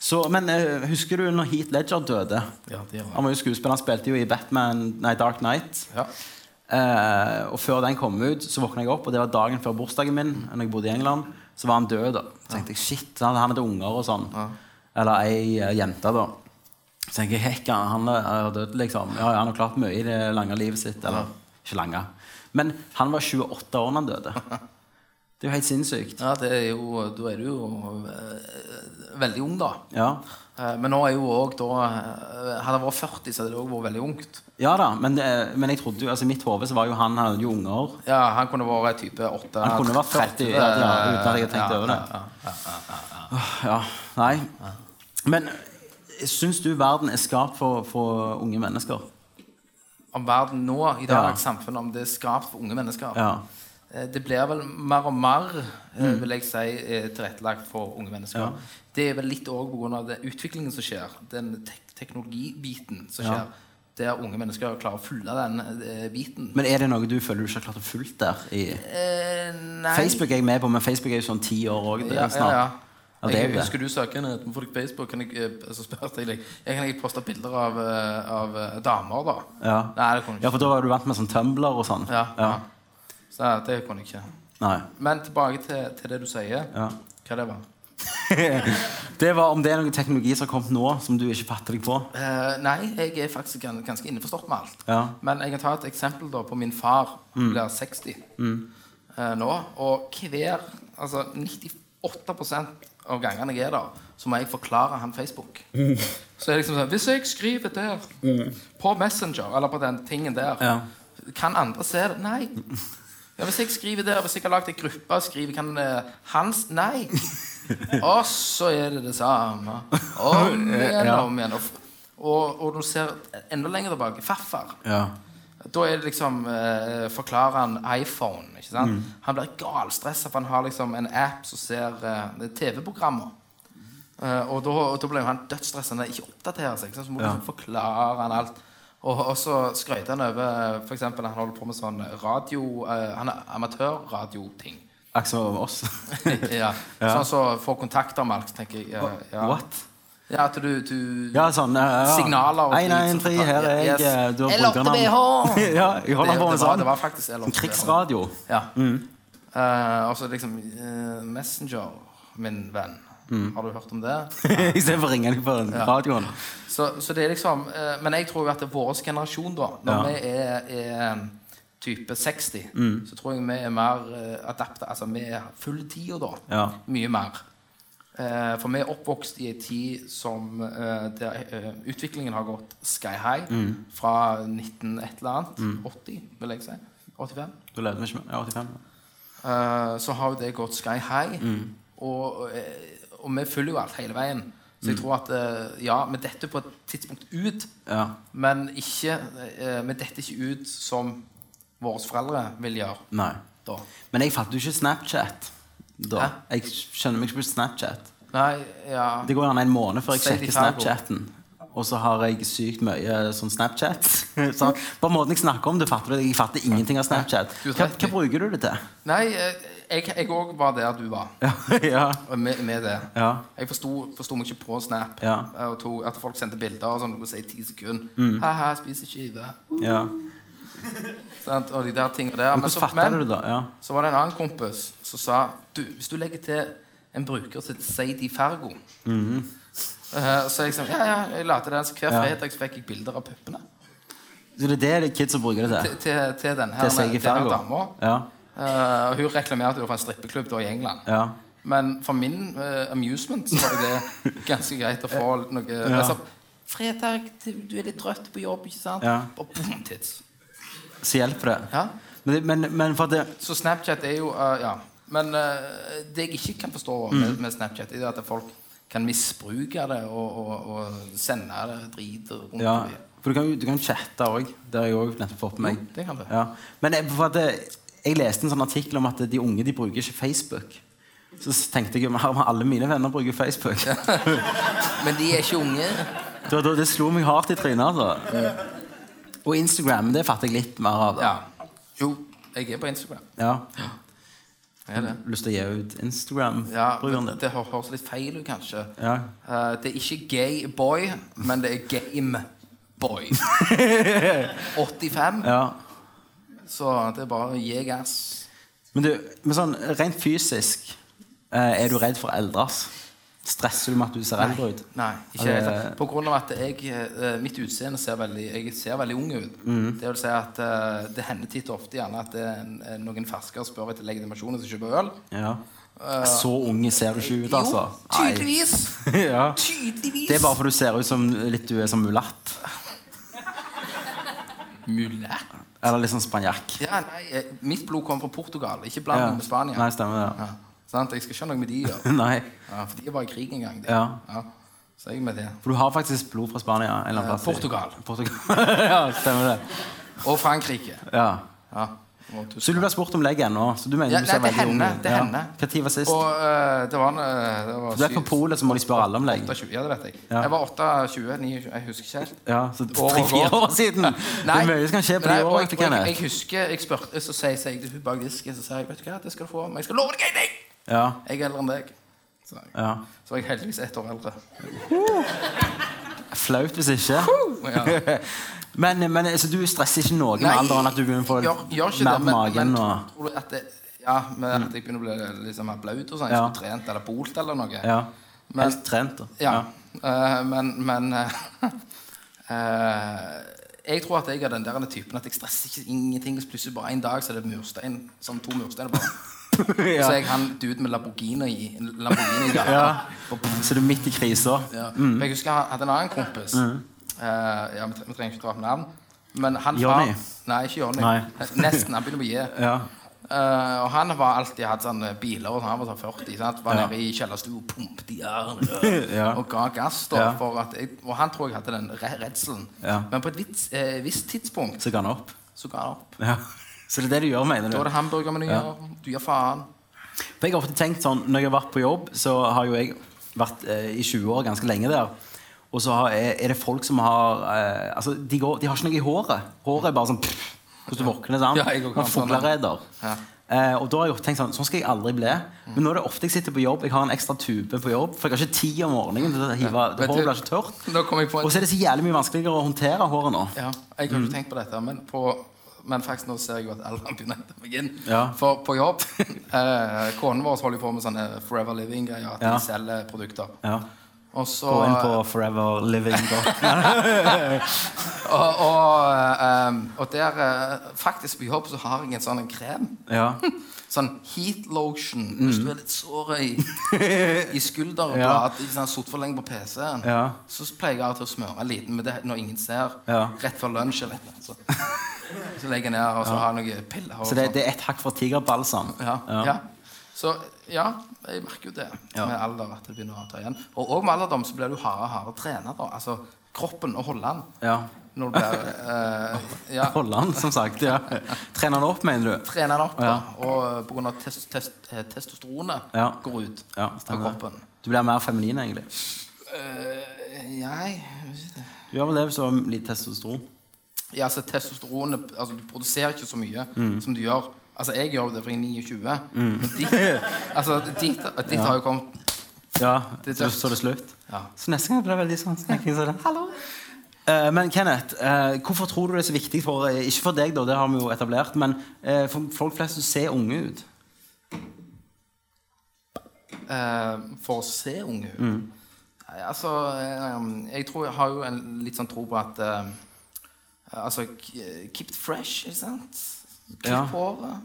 C: Så, men eh, husker du når Heat Ledger døde?
D: Ja, det gjør jeg.
C: Han var jo skuespiller, han spilte jo i Batman, nei, Dark Knight.
D: Ja.
C: Eh, og før den kom ut, så våkna jeg opp, og det var dagen før bursdagen min. Når jeg bodde i England, så var han død. da Så tenkte jeg, shit, han han hadde unger og sånn. Eller ei eh, jente, da. Så tenkte jeg, hekk, han han er død, liksom. Ja, ja, han har klart mye i det lange livet sitt. Eller ikke lange. Men han var 28 år da han døde. Det er jo helt sinnssykt.
D: Ja, det er jo, da er du jo eh, veldig ung, da.
C: Ja,
D: Eh, Men nå er jo også da eh, Hadde jeg vært 40, så hadde det også vært veldig ungt.
C: ja da, men, det- men jeg trodde jo, altså i mitt hode så var jo han han hadde jo unger.
D: Ja, Han kunne vært type 8.
C: Han kunne vært 40, ja, ja, uten at jeg hadde tenkt over det.
D: Ja, ja, ja.
C: Ja, nei. Men syns du verden er skapt for, for unge mennesker?
D: Om verden nå, i dag,
C: Ja.
D: samfunnet, om det er skapt for unge mennesker
C: Ja. Mm.
D: Eh, Det blir vel mer og mer eh, vil jeg si, eh, tilrettelagt for unge mennesker. Det er vel litt òg pga. utviklingen som skjer, den tek teknologibiten som
C: Ja.
D: skjer. Der unge mennesker klarer å fylle den eh, biten.
C: Men er det noe du føler du ikke har klart å fulgt der? I?
D: Eh, nei.
C: Facebook er jeg med på, men Facebook er jo sånn ti år òg.
D: ja, ja, ja.
C: Ja, det er
D: Jeg
C: jo det.
D: husker du saken at på Facebook kan jeg, eh, altså, spurte jeg deg Jeg kan ikke poste bilder av, eh, av eh, damer, da.
C: Ja.
D: Nei, det kunne jeg
C: for
D: ikke.
C: da var du vant med sånn Tumblr og sånn.
D: Ja, ja. Så ja, det kunne jeg ikke.
C: Nei.
D: Men tilbake til, til det du sier.
C: Ja.
D: Hva det var?
C: Det var om det er noen teknologi som har kommet nå, som du ikke fatter deg på.
D: Eh, nei, jeg er faktisk gan- ganske innforstått med alt.
C: Ja. Mm.
D: Men jeg kan ta et eksempel da på min far. Han blir 60 eh, nå. Og hver Altså 98 av gangene jeg er der, så må jeg forklare han Facebook.
C: Mm.
D: Så jeg liksom sånn Hvis jeg skriver der, på Messenger, eller på den tingen der,
C: Ja.
D: kan andre se det? Nei. Ja, hvis jeg skriver der, hvis jeg har lagd ei gruppe og skriver kan eh, Hans Nei. Og så er det det samme. Om igjen og om igjen. Og, og, og du ser enda lenger tilbake. Farfar.
C: Ja.
D: Da er det liksom eh, Forklarer han iPhone. ikke sant?
C: Mm.
D: Han blir galstressa, for han har liksom en app som ser eh, TV-programmer. Eh, og da, og da ble jo han dødsstressa når han ikke oppdaterer seg. ikke sant? Så må du liksom forklare han alt. Og, og så skrøt han over for eksempel, Han holder på med sånn radio eh, Han er amatørradioting.
C: Akkurat som oss.
D: ja. Sånn som får kontakter med alt, tenker jeg. eh, ja.
C: What?
D: Ja, at du, du
C: Ja, sånn ja, ja.
D: Signaler og
C: Ein, ein, tre, her er jeg. eh, Du har brukernavn.
D: L8BH!
C: ja, jeg holder
D: Det,
C: på med
D: det, var, det
C: sånn.
D: var faktisk L8BH.
C: Krigsradio.
D: Ja. Eh, og så liksom eh, Messenger, min venn. Har du hørt om det?
C: Istedenfor å ringe deg på radioen.
D: Så, så det er liksom eh, Men jeg tror jo at det er vår generasjon, da. Når vi er, er type 60, så tror jeg vi er mer eh, adapta. Altså vi er full tida da.
C: Ja.
D: Mye mer. Eh, for vi er oppvokst i en tid som eh, der eh, utviklingen har gått sky high. Fra 19 et eller annet. 80, vil jeg si. 85.
C: Du levde vi ikke med ja, 85.
D: Eh, så har jo det gått sky high.
C: Mm.
D: Og, eh, og vi følger jo alt hele veien.
C: Mm.
D: Så jeg tror at eh, ja, vi detter på et tidspunkt ut,
C: Ja.
D: men ikke, eh, vi detter ikke ut som våre foreldre vil gjøre.
C: Nei.
D: Da.
C: Men jeg fatter jo ikke Snapchat. Da.
D: Hæ?
C: Jeg skjønner meg ikke på Snapchat.
D: Nei, ja
C: Det går gjerne en måned før jeg
D: Say
C: sjekker
D: de her går.
C: Snapchaten. Og så har jeg sykt mye sånn Snapchat. Så på måten jeg snakker om det, fatter du det. Jeg fatter ingenting av Snapchat.
D: Du
C: Hva,
D: vet
C: hva
D: det.
C: bruker du det til?
D: Nei, eh, jeg òg var der du var
C: Ja, ja.
D: med, med det.
C: ja.
D: Jeg forsto forsto meg ikke på Snap
C: Ja.
D: eh, og tok, at folk sendte bilder og sånn, noe si ti sekunder.
C: Mm.
D: Ha-ha, spiser skive.
C: ja.
D: Sant? Og de der tingene der.
C: Men hvordan fatter du det, da? Ja.
D: Så var det en annen kompis som sa du, hvis du legger til en bruker til Sadie Fargo
C: Mhm.
D: eh, Så jeg sa ja, ja, jeg la til den, så hver fredag så fikk jeg bilder av puppene
C: Så det er det det er kids som bruker det
D: til,
C: til?
D: til, til denne her,
C: Til Seige
D: til denne
C: Fargo?
D: dama.
C: Ja.
D: Eh, og hun reklamerte jo for en strippeklubb da i England.
C: ja.
D: Men for min eh, amusement så var jo det ganske greit å få litt noe jeg sa, Fredag, du du er litt trøtt på jobb, ikke sant?
C: Ja.
D: Og boom, tits.
C: Så hjelper det.
D: Ja?
C: Men, det- men, men for at det
D: Så Snapchat er jo eh, Ja. Men eh, det jeg ikke kan forstå med,
C: Mm.
D: med Snapchat, er jo at folk kan misbruke det og, og, og sende det drit rundt
C: Ja.
D: i.
C: For du kan, jo- du kan chatte òg. Det har jeg òg nettopp fått med meg.
D: det kan du.
C: Ja. Men jeg, for at det, jeg leste en sånn artikkel om at de unge de bruker ikke Facebook. Så s- tenkte jeg jo men her må alle mine venner bruker Facebook. Det,
D: Men de er ikke unge.
C: var da- det slo meg hardt i trynet. altså. Og Instagram. men Det fatter jeg litt mer av.
D: Ja.
C: da.
D: Jo, jeg er på Instagram.
C: Ja.
D: Jeg er det.
C: Lyst til å gi ut
D: Ja,
C: Instagram-brukeren
D: men
C: din?
D: det hø- høres litt feil ut, kanskje.
C: Ja.
D: Eh, det er ikke gay boy, men det er game boy. 85,
C: Ja.
D: så det er bare å gi gass.
C: Men du, men sånn, rent fysisk, eh, er du redd for å eldres? Stresser du med at du ser eldre ut?
D: Nei, ikke
C: Altså,
D: helt. På grunn av at jeg, eh, mitt utseende ser veldig, jeg ser veldig ung ut.
C: Mm.
D: Det vil si at eh, det hender titt og ofte gjerne at det er en, en- noen ferskere spør etter legitimasjon og kjøper øl.
C: Ja. Så unge ser du ikke ut, altså.
D: Eh, Jo, tydeligvis!
C: Nei. ja.
D: Tydeligvis!
C: Det er bare for du ser ut som litt du er som mulatt.
D: Mulighet.
C: Eller litt sånn spanjakk.
D: Ja, nei, eh, mitt blod kommer fra Portugal, ikke bland
C: Ja.
D: det med Spania.
C: Nei, stemmer det.
D: Ja, sant? Jeg skal ikke ha noe med de å gjøre.
C: Ja. Nei.
D: Ja, for de var i krig en gang. de.
C: Ja.
D: Ja. Så jeg er med det.
C: For du har faktisk blod fra Spania. En eller annen plass. i-
D: Eh, Portugal.
C: Portugal. ja, stemmer det.
D: Og Frankrike.
C: Ja.
D: Ja. Og eh, Tyskland.
C: Så du blir spurt om legg ennå? Så du mener
D: Ja,
C: du
D: nei,
C: ser
D: det
C: veldig ung
D: hender,
C: ut?
D: det hender.
C: Hva tid var sist?
D: Og eh, det var en eh, det var
C: du er på
D: syv-
C: polet, så må de spørre alle om legg.
D: 28, ja, det vet jeg.
C: Ja.
D: Jeg var 28, 29, jeg husker ikke helt.
C: Ja, så
D: År og
C: tre-fire
D: år.
C: år siden! Det
D: Nei,
C: er mye som kan skje på
D: nei,
C: de
D: og
C: årene.
D: jeg,
C: til
D: og jeg,
C: Kenneth.
D: jeg husker jeg spurte, så sier sier jeg til hun bak disken Så sier jeg, vet du hva, det skal du få, men jeg skal love deg en ting!
C: Ja,
D: Jeg er eldre enn deg. Så, jeg.
C: ja.
D: så var jeg heldigvis ett år eldre.
C: Flaut hvis ikke.
D: Ja.
C: Men, men så du stresser ikke noe med alderen? At du begynner å få
D: gjør, gjør ikke
C: mer
D: det,
C: på
D: men,
C: magen?
D: men
C: og...
D: tror du at det, ja, men at jeg begynner å bli liksom mer blaut og sånn. Jeg
C: Ja.
D: skulle trent eller bolt eller noe.
C: Ja.
D: Men-
C: Helt trent, da.
D: Ja. Eh, men men eh, eh, Jeg tror at jeg er den der typen at jeg stresser ikke ingenting. Så plutselig bare en dag så er det murstein, sånn to mursteiner bare.
C: Ja.
D: Så er jeg han duden med Lamborghini i Lamborghini i dag.
C: Ja. Mm. Så du er midt i krisa.
D: Ja. Men Jeg husker jeg hadde en annen kompis.
C: Mm.
D: Eh, ja, vi, tre- vi trenger ikke dra opp navn. Men han
C: Johnny.
D: Var, nei, ikke Johnny.
C: Nei.
D: Nesten. Han begynner E. på J.
C: Ja.
D: Eh, og han var alltid hatt sånne biler og sånn, han var sånn 40. Sant? Var
C: Ja.
D: nede i kjellerstua og pumpet i jern
C: Ja.
D: og ga gass. da
C: Ja.
D: for at jeg, Og han tror jeg hadde den re redselen.
C: Ja.
D: Men på et vits, eh, visst tidspunkt
C: Så ga han opp.
D: så ga han opp.
C: Ja. Så det er det du gjør, mener du?
D: Da er det hamburgermenyer. Du gir faen.
C: For jeg har ofte tenkt sånn, Når jeg har vært på jobb, så har jo jeg vært eh, i 20 år, ganske lenge der. Og så har, er, er det folk som har eh, Altså, de, går, de har ikke noe i håret. Håret er bare sånn pff, Hvordan du våkner. sant?
D: Ja, jeg går
C: Man
D: kanskje
C: fuglereder.
D: Ja. Mm.
C: Eh, og da har jeg jo tenkt sånn Sånn skal jeg aldri bli. Men nå er det ofte jeg sitter på jobb, jeg har en ekstra tube på jobb, for jeg har ikke tid om morgenen. til å hive,
D: Vet du-
C: Håret blir ikke tørt.
D: Nå kom jeg på en-
C: Og Mm. så er det så jævlig mye vanskeligere å håndtere håret nå.
D: Ja, jeg har ikke tenkt på dette, men, på, men faktisk nå ser jeg jo at alderen begynner å hente meg inn.
C: Ja.
D: For på jobb eh, Konen vår holder jo på med sånne Forever Living-greier. At
C: Ja.
D: de selger produkter.
C: Ja.
D: Og eh, så
C: Gå inn på foreverliving.com.
D: og, og, ehm, og der eh, Faktisk på jobb så har jeg en sånn en krem.
C: Ja.
D: Sånn heat lotion hvis du er litt sår i, i skulder og
C: Mm. Ja.
D: blad. Ikke sant, Sittet for lenge på PC-en.
C: Ja.
D: Så pleier jeg av og til å smøre en liten med det når ingen ser.
C: Ja.
D: Rett før lunsj eller noe. Så, så legger jeg ned og så har jeg noen piller. og
C: Så det,
D: sånt.
C: det er ett hakk fra tigerbalsam.
D: Ja. ja. Så ja, jeg merker jo det
C: Ja.
D: med alder at det begynner å ta igjen. Og også med alderdom så blir du hardere og hardere trener. da. Altså kroppen og holde den.
C: Ja.
D: Når du blir eh, ja,
C: Holland, som sagt. ja. Trener han opp, mener du?
D: Trene den opp, da.
C: Ja.
D: Og på grunn av test, test, eh, testosteronet
C: Ja.
D: går ut
C: Ja,
D: av
C: stemmer.
D: kroppen.
C: Du blir mer feminin, egentlig.
D: Eh, nei
C: Du gjør vel det hvis du har litt testosteron.
D: ja, altså, Testosteronet altså, Du produserer ikke så mye
C: Mm.
D: som du gjør. Altså, jeg gjør jo det for jeg er 29, men ditt, altså, ditt, ditt har jo kommet
C: Ja,
D: Det
C: så,
D: er tøft.
C: så er det slutt.
D: Ja.
C: Så neste gang blir det veldig sånn snakking. Så er det, Hallo. Eh, men Kenneth, eh, hvorfor tror du det er så viktig for eh, Ikke for deg, da, det har vi jo etablert, men eh, for folk flest som ser unge ut?
D: eh, for å se unge ut.
C: Mm.
D: Nei, altså, eh, jeg tror jeg har jo en litt sånn tro på at eh, Altså, k- keep it fresh, ikke sant? Klipp
C: Ja.
D: håret.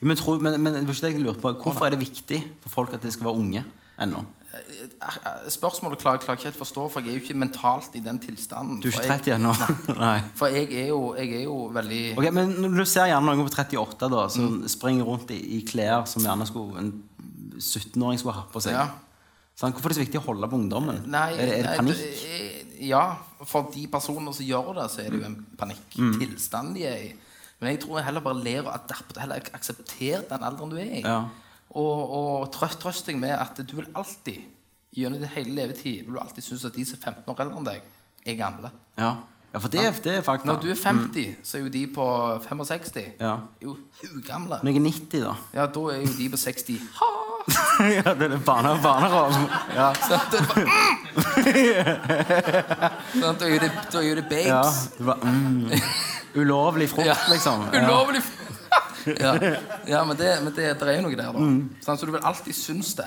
C: Men, tror, men, men det var ikke det jeg lurte på. Hvorfor er det viktig for folk at de skal være unge ennå?
D: Eh, eh, Spørsmålet klarer klarer ikke helt å forstå, for jeg er jo ikke mentalt i den tilstanden.
C: Du er
D: For
C: ikke 30
D: jeg-
C: ennå? Nei.
D: For jeg er jo, jeg er jo veldig
C: Ok, men når du ser gjerne noen på 38 da, som
D: Mm.
C: springer rundt i, i klær som gjerne skulle en 17-åring skulle ha på seg
D: ja.
C: Sant? Hvorfor er det så viktig å holde på ungdommen?
D: Nei,
C: er det, er det
D: nei,
C: panikk?
D: det- eh, ja, for de personene som gjør det, så er det jo
C: Mm.
D: en panikktilstand de er i. Men jeg tror jeg heller bare ler og adapter, heller ak- aksepterer den alderen du er i.
C: Ja.
D: Og, og trøst, trøst deg med at du vil alltid, gjennom din hele levetid, vil du alltid synes at de som er 15 år eldre enn deg, er gamle.
C: Ja. ja, for det, er- det er fakta.
D: Når du er 50, så er jo de på 65
C: Ja.
D: jo ugamle.
C: Når jeg er 90, da
D: Ja, da er jo de på 60.
C: Ja, det er det barne barnerom. Ja.
D: Sånn, da er det bare, mm! Sånn, da er jo det, da er jo det babes.
C: ja. Det var, mm. Ulovlig frukt,
D: Ja.
C: liksom. Ja.
D: Ulovlig ja. ja, men, det, men det, det er jo noe der, da.
C: Mm.
D: Sånn, så du vil alltid synes det.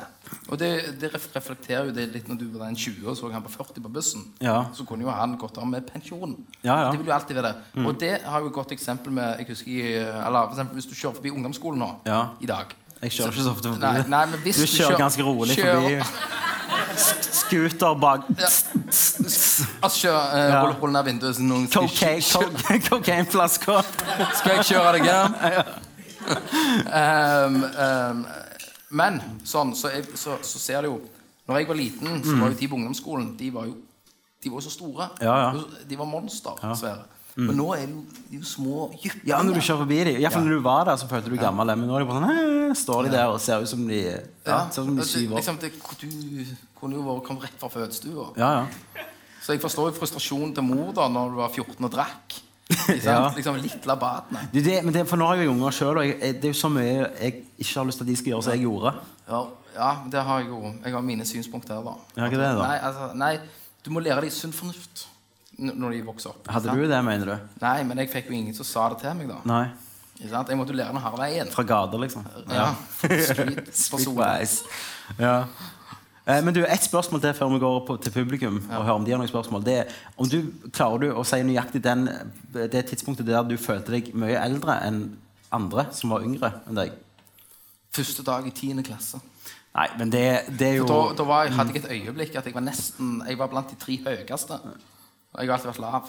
D: Og det, det ref- reflekterer jo det litt når du var den 20 og så han på 40 på bussen.
C: Ja.
D: Så kunne jo han gått av med pensjon.
C: Ja, Mm. ja.
D: Det vil jo alltid være det. Og det har jo et godt eksempel med jeg husker, i- eh, eller, for eksempel, Hvis du kjører forbi ungdomsskolen nå
C: Ja.
D: i dag
C: Jeg kjører ikke så ofte forbi.
D: Nei, nei, men hvis
C: du
D: du
C: kjører
D: kjører-
C: ganske rolig
D: kjører-
C: forbi. S- Scooter bak
D: Altså, kjør, eh,
C: Ja.
D: rull, rull ned vinduet så noen skal
C: Cocaine- co-
D: kjø-
C: Cocaineflasker.
D: Skal jeg kjøre deg hjem? um, um, men sånn, så, jeg, så, så ser du jo Når jeg var liten,
C: Mm.
D: så var jo de på ungdomsskolen De var jo de var jo så store.
C: Ja, ja. Mm.
D: De var monster. dessverre. Men nå er de jo, de er jo små jyplinger.
C: Ja, når du kjører forbi dem. Ja, for når du var der, så følte du deg gammel. Men nå er de bare sånn, «Hæ», står de der og ser ut som de ja,
D: Ja.
C: ser ut som de er
D: Det-
C: syv år.
D: Liksom, det, du kunne jo vært kommet rett fra fødestua.
C: Ja, ja.
D: Så jeg forstår jo frustrasjonen til mor da Når du var 14 og drakk. Ikke sant?
C: Ja.
D: Liksom litt labatene.
C: Det, er det, men det, for nå har jeg jo unger sjøl, og jeg, jeg, det er jo så mye jeg ikke har lyst til at de skal gjøre som jeg gjorde.
D: Ja, ja, det har jeg jo. Jeg har mine synspunkter her, da.
C: Ja, hva er det da?
D: Nei, altså, nei, du må lære deg sunn fornuft n- når de vokser opp.
C: Hadde du det, mener du?
D: Nei, men jeg fikk jo ingen som sa det til meg, da.
C: Nei.
D: Ikke sant? Jeg måtte jo lære den harde veien.
C: Fra gata, liksom?
D: Ja. Street personer.
C: Streetwise. Ja. Eh, Men du, ett spørsmål til før vi går på, til publikum og hører om de har noen spørsmål. Det er om du klarer du å si nøyaktig den, det tidspunktet der du følte deg mye eldre enn andre som var yngre enn deg?
D: Første dag i 10. klasse.
C: Nei, men det, det er
D: For
C: jo
D: Da, da var, jeg- hadde jeg et øyeblikk at jeg var nesten Jeg var blant de tre høyeste. Og jeg har alltid vært lav.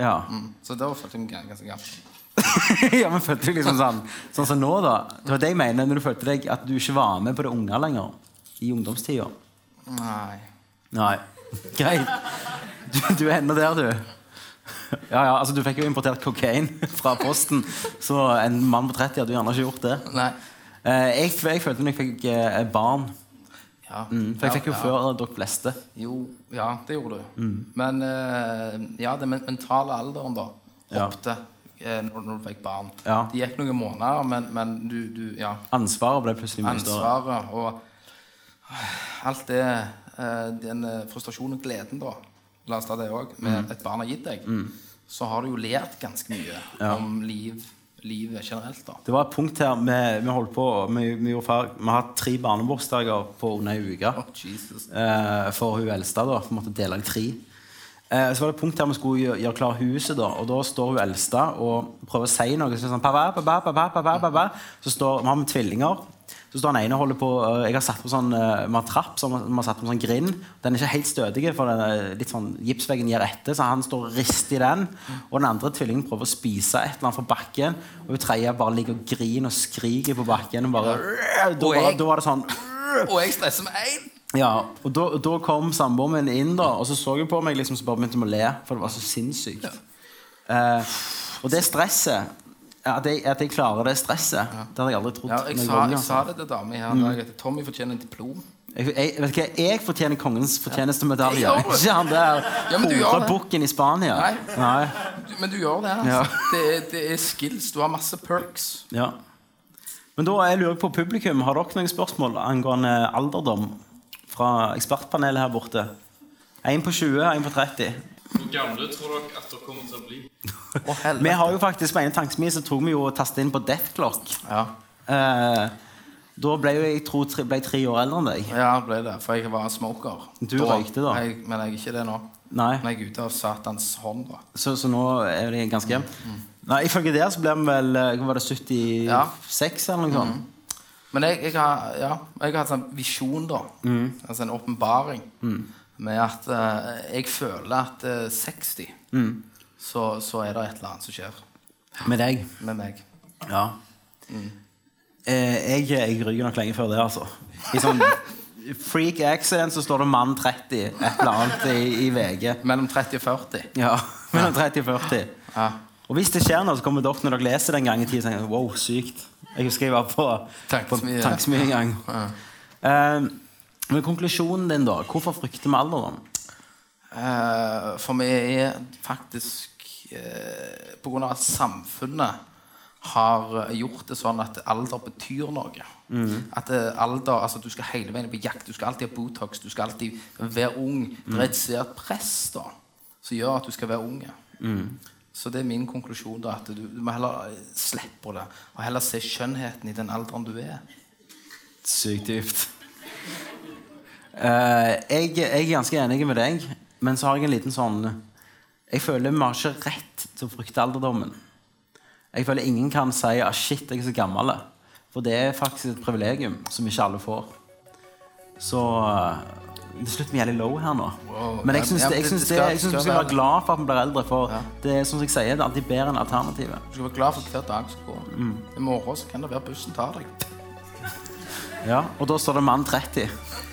C: Ja.
D: Mm. Så da følte jeg meg gans- ganske gammel.
C: ja, men følte du liksom sånn Sånn som nå, da. Det var det jeg mener når du følte deg at du ikke var med på det unge lenger. I ungdomstida.
D: Nei.
C: Nei. Greit. Du, du er ennå der, du. Ja, ja, altså Du fikk jo importert kokain fra Posten, så en mann på 30 hadde jo gjerne ikke gjort det.
D: Nei.
C: Eh, jeg, jeg følte når jeg fikk eh, barn
D: Ja.
C: For jeg fikk jo
D: ja,
C: før dere fleste.
D: Jo, ja, det gjorde du.
C: Mm.
D: Men eh, ja, den men- mentale alderen, da,
C: Ja.
D: hoppte eh, når, når du fikk barn.
C: Ja.
D: Det gikk noen måneder, men, men du, du Ja.
C: Ansvaret ble plutselig mye større.
D: Ansvaret og alt det eh, Den eh, frustrasjonen og gleden, da, la oss ta det òg, med
C: Mm.
D: et barn har gitt deg, så har du jo lært ganske mye om liv, livet generelt, da.
C: Det var et punkt her vi, vi holdt på Vi, vi, gjorde fer- vi har hatt tre barnebursdager på under ei uke.
D: Å, Jesus.
C: eh, for hun eldste. da, for vi måtte dele i tre. Eh, så var det et punkt der vi skulle gjøre, gjøre klar huset, da, og da står hun eldste og prøver å si noe. Så, er det sånn, pappa, pappa, pappa, pappa, pappa. så står, Vi har med tvillinger. Så står den ene og holder på eh, Jeg har satt på sånn eh, vi har trapp, så vi har- vi har satt på en sånn grind. Den er ikke helt stødig, for den er litt sånn, gipsveggen gir etter. Så han står og rister i den. Og den andre tvillingen prøver å spise et eller annet fra bakken. Og hun tredje bare ligger og griner og skriker på bakken. Og bare, da, var- da var det sånn
D: Og jeg stresser med én!
C: ja, og da, da kom samboeren min inn, da, og så så hun på meg liksom, så bare begynte hun å le. For det var så sinnssykt. Eh, og det stresset At jeg, at jeg klarer det stresset, det hadde jeg aldri trodd.
D: Ja, jeg,
C: noen
D: sa,
C: gang,
D: jeg sa
C: altså.
D: det til dama her en dag at Tommy fortjener et diplom.
C: jeg, jeg, vet ikke, hva, jeg fortjener kongens fortjenestemedalje.
D: Ja, det gjør du.
C: Ikke han der
D: Ja, men du gjør det.
C: horebukken i Spania.
D: Nei.
C: Nei.
D: Du- Men du gjør det. Altså.
C: Ja.
D: Det, er, det er skills. Du har masse perks.
C: Ja. Men da jeg lurer jeg på publikum, har dere noen spørsmål angående alderdom fra ekspertpanelet her borte? Én på 20, én på 30.
E: Hvor gamle tror dere at dere kommer til å bli?
D: Å,
C: Vi
D: helvete.
C: har jo faktisk på ene tankesmien så tok vi jo og tastet inn på Death Clock.
D: Ja.
C: Eh, da ble jo jeg tro, tre, ble jeg tre år eldre enn deg.
D: ja, ble det. For jeg var smoker.
C: Du røykte da.
D: Jeg, men jeg er ikke det nå.
C: Nei,
D: Men jeg er ute av Satans hånd, da.
C: Så, så nå er det ganske jevnt. Nei, Ifølge der så ble vi vel eh, Var det 76
D: Ja.
C: eller noe sånt?
D: Men jeg, jeg, har, ja, jeg har hatt en sånn visjon, da.
C: Mm.
D: Altså en åpenbaring. Med at eh, jeg føler at eh, 60,
C: Mm.
D: så, så er det et eller annet som skjer
C: Med deg. Mm.
D: med meg.
C: Ja. Eh, jeg, jeg rygger nok lenge før det, altså. I sånn freak accident så står det 'mann 30' et eller annet i, i VG.
D: Mellom 30 og 40.
C: Ja, Mellom 30 og 40.
D: Ja.
C: Og hvis det skjer noe, så kommer dere når dere leser den gang i tiden og tenker wow, sykt. Jeg husker jeg var på, på
D: Tankesmie.
C: tankesmie en gang. Eh, men konklusjonen din, da? Hvorfor frykter vi alderdom?
D: Eh, for vi er faktisk uh, På grunn av at samfunnet har gjort det sånn at alder betyr noe. At eh, alder, altså Du skal hele veien på jakt, du skal alltid ha Botox, du skal alltid være ung. Det er et svært press da som gjør at du skal være ung. Så det er min konklusjon. da At du, du må heller eh, slippe på det. Og heller se skjønnheten i den alderen du er.
C: Sykt dypt. Eh, jeg, jeg er ganske enig med deg, men så har jeg en liten sånn Jeg føler vi har ikke rett til å frykte alderdommen. Jeg føler ingen kan si ah, 'shit, jeg er så gammel'. For det er faktisk et privilegium som ikke alle får. Så eh, Det slutter med jævlig low her nå.
D: Wow.
C: Men jeg syns
D: Ja,
C: det- jeg
D: det-
C: syns
D: det
C: det-
D: skal-
C: jeg syns vi
D: skal
C: skal være
D: være-
C: glad for at vi blir eldre. For det er som jeg sier, det er alltid bedre enn alternativet.
D: Du skal være glad for hver dag som går. I morgen så kan det være bussen tar deg.
C: Ja, Og da står det mann 30.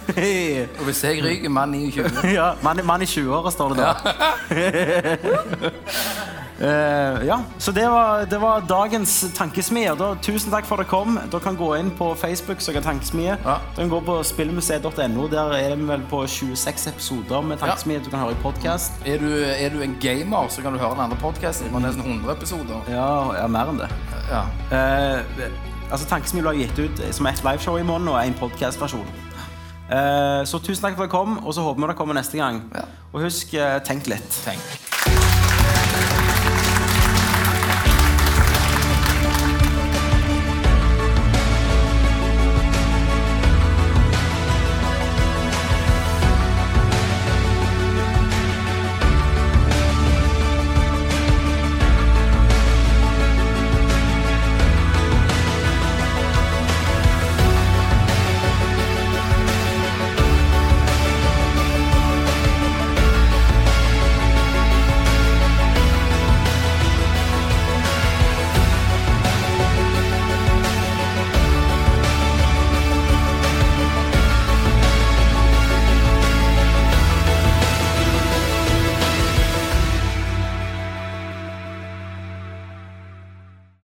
D: Og hvis jeg ryker mann 29
C: Ja, mann, mann i 20-åra står det da. Eh, ja, så det var, det var dagens tankesmie. Da, tusen takk for at dere kom. Dere kan gå inn på Facebook søke tankesmie.
D: Ja.
C: Dere kan gå på spillmuseet.no. Der er vi vel på 26 episoder med tankesmie. Du kan høre i podkast.
D: Er du, er du en gamer, så kan du høre den andre podkasten. Det er nesten 100 episoder.
C: Ja, ja, mer enn det.
D: Ja.
C: Eh, altså, Tankesmie ble gitt ut som ett liveshow i måneden og en podcastversjon. Eh, så tusen takk for at dere kom, og så håper vi dere kommer neste gang.
D: Ja.
C: Og husk, eh, tenk litt.
D: Tenk.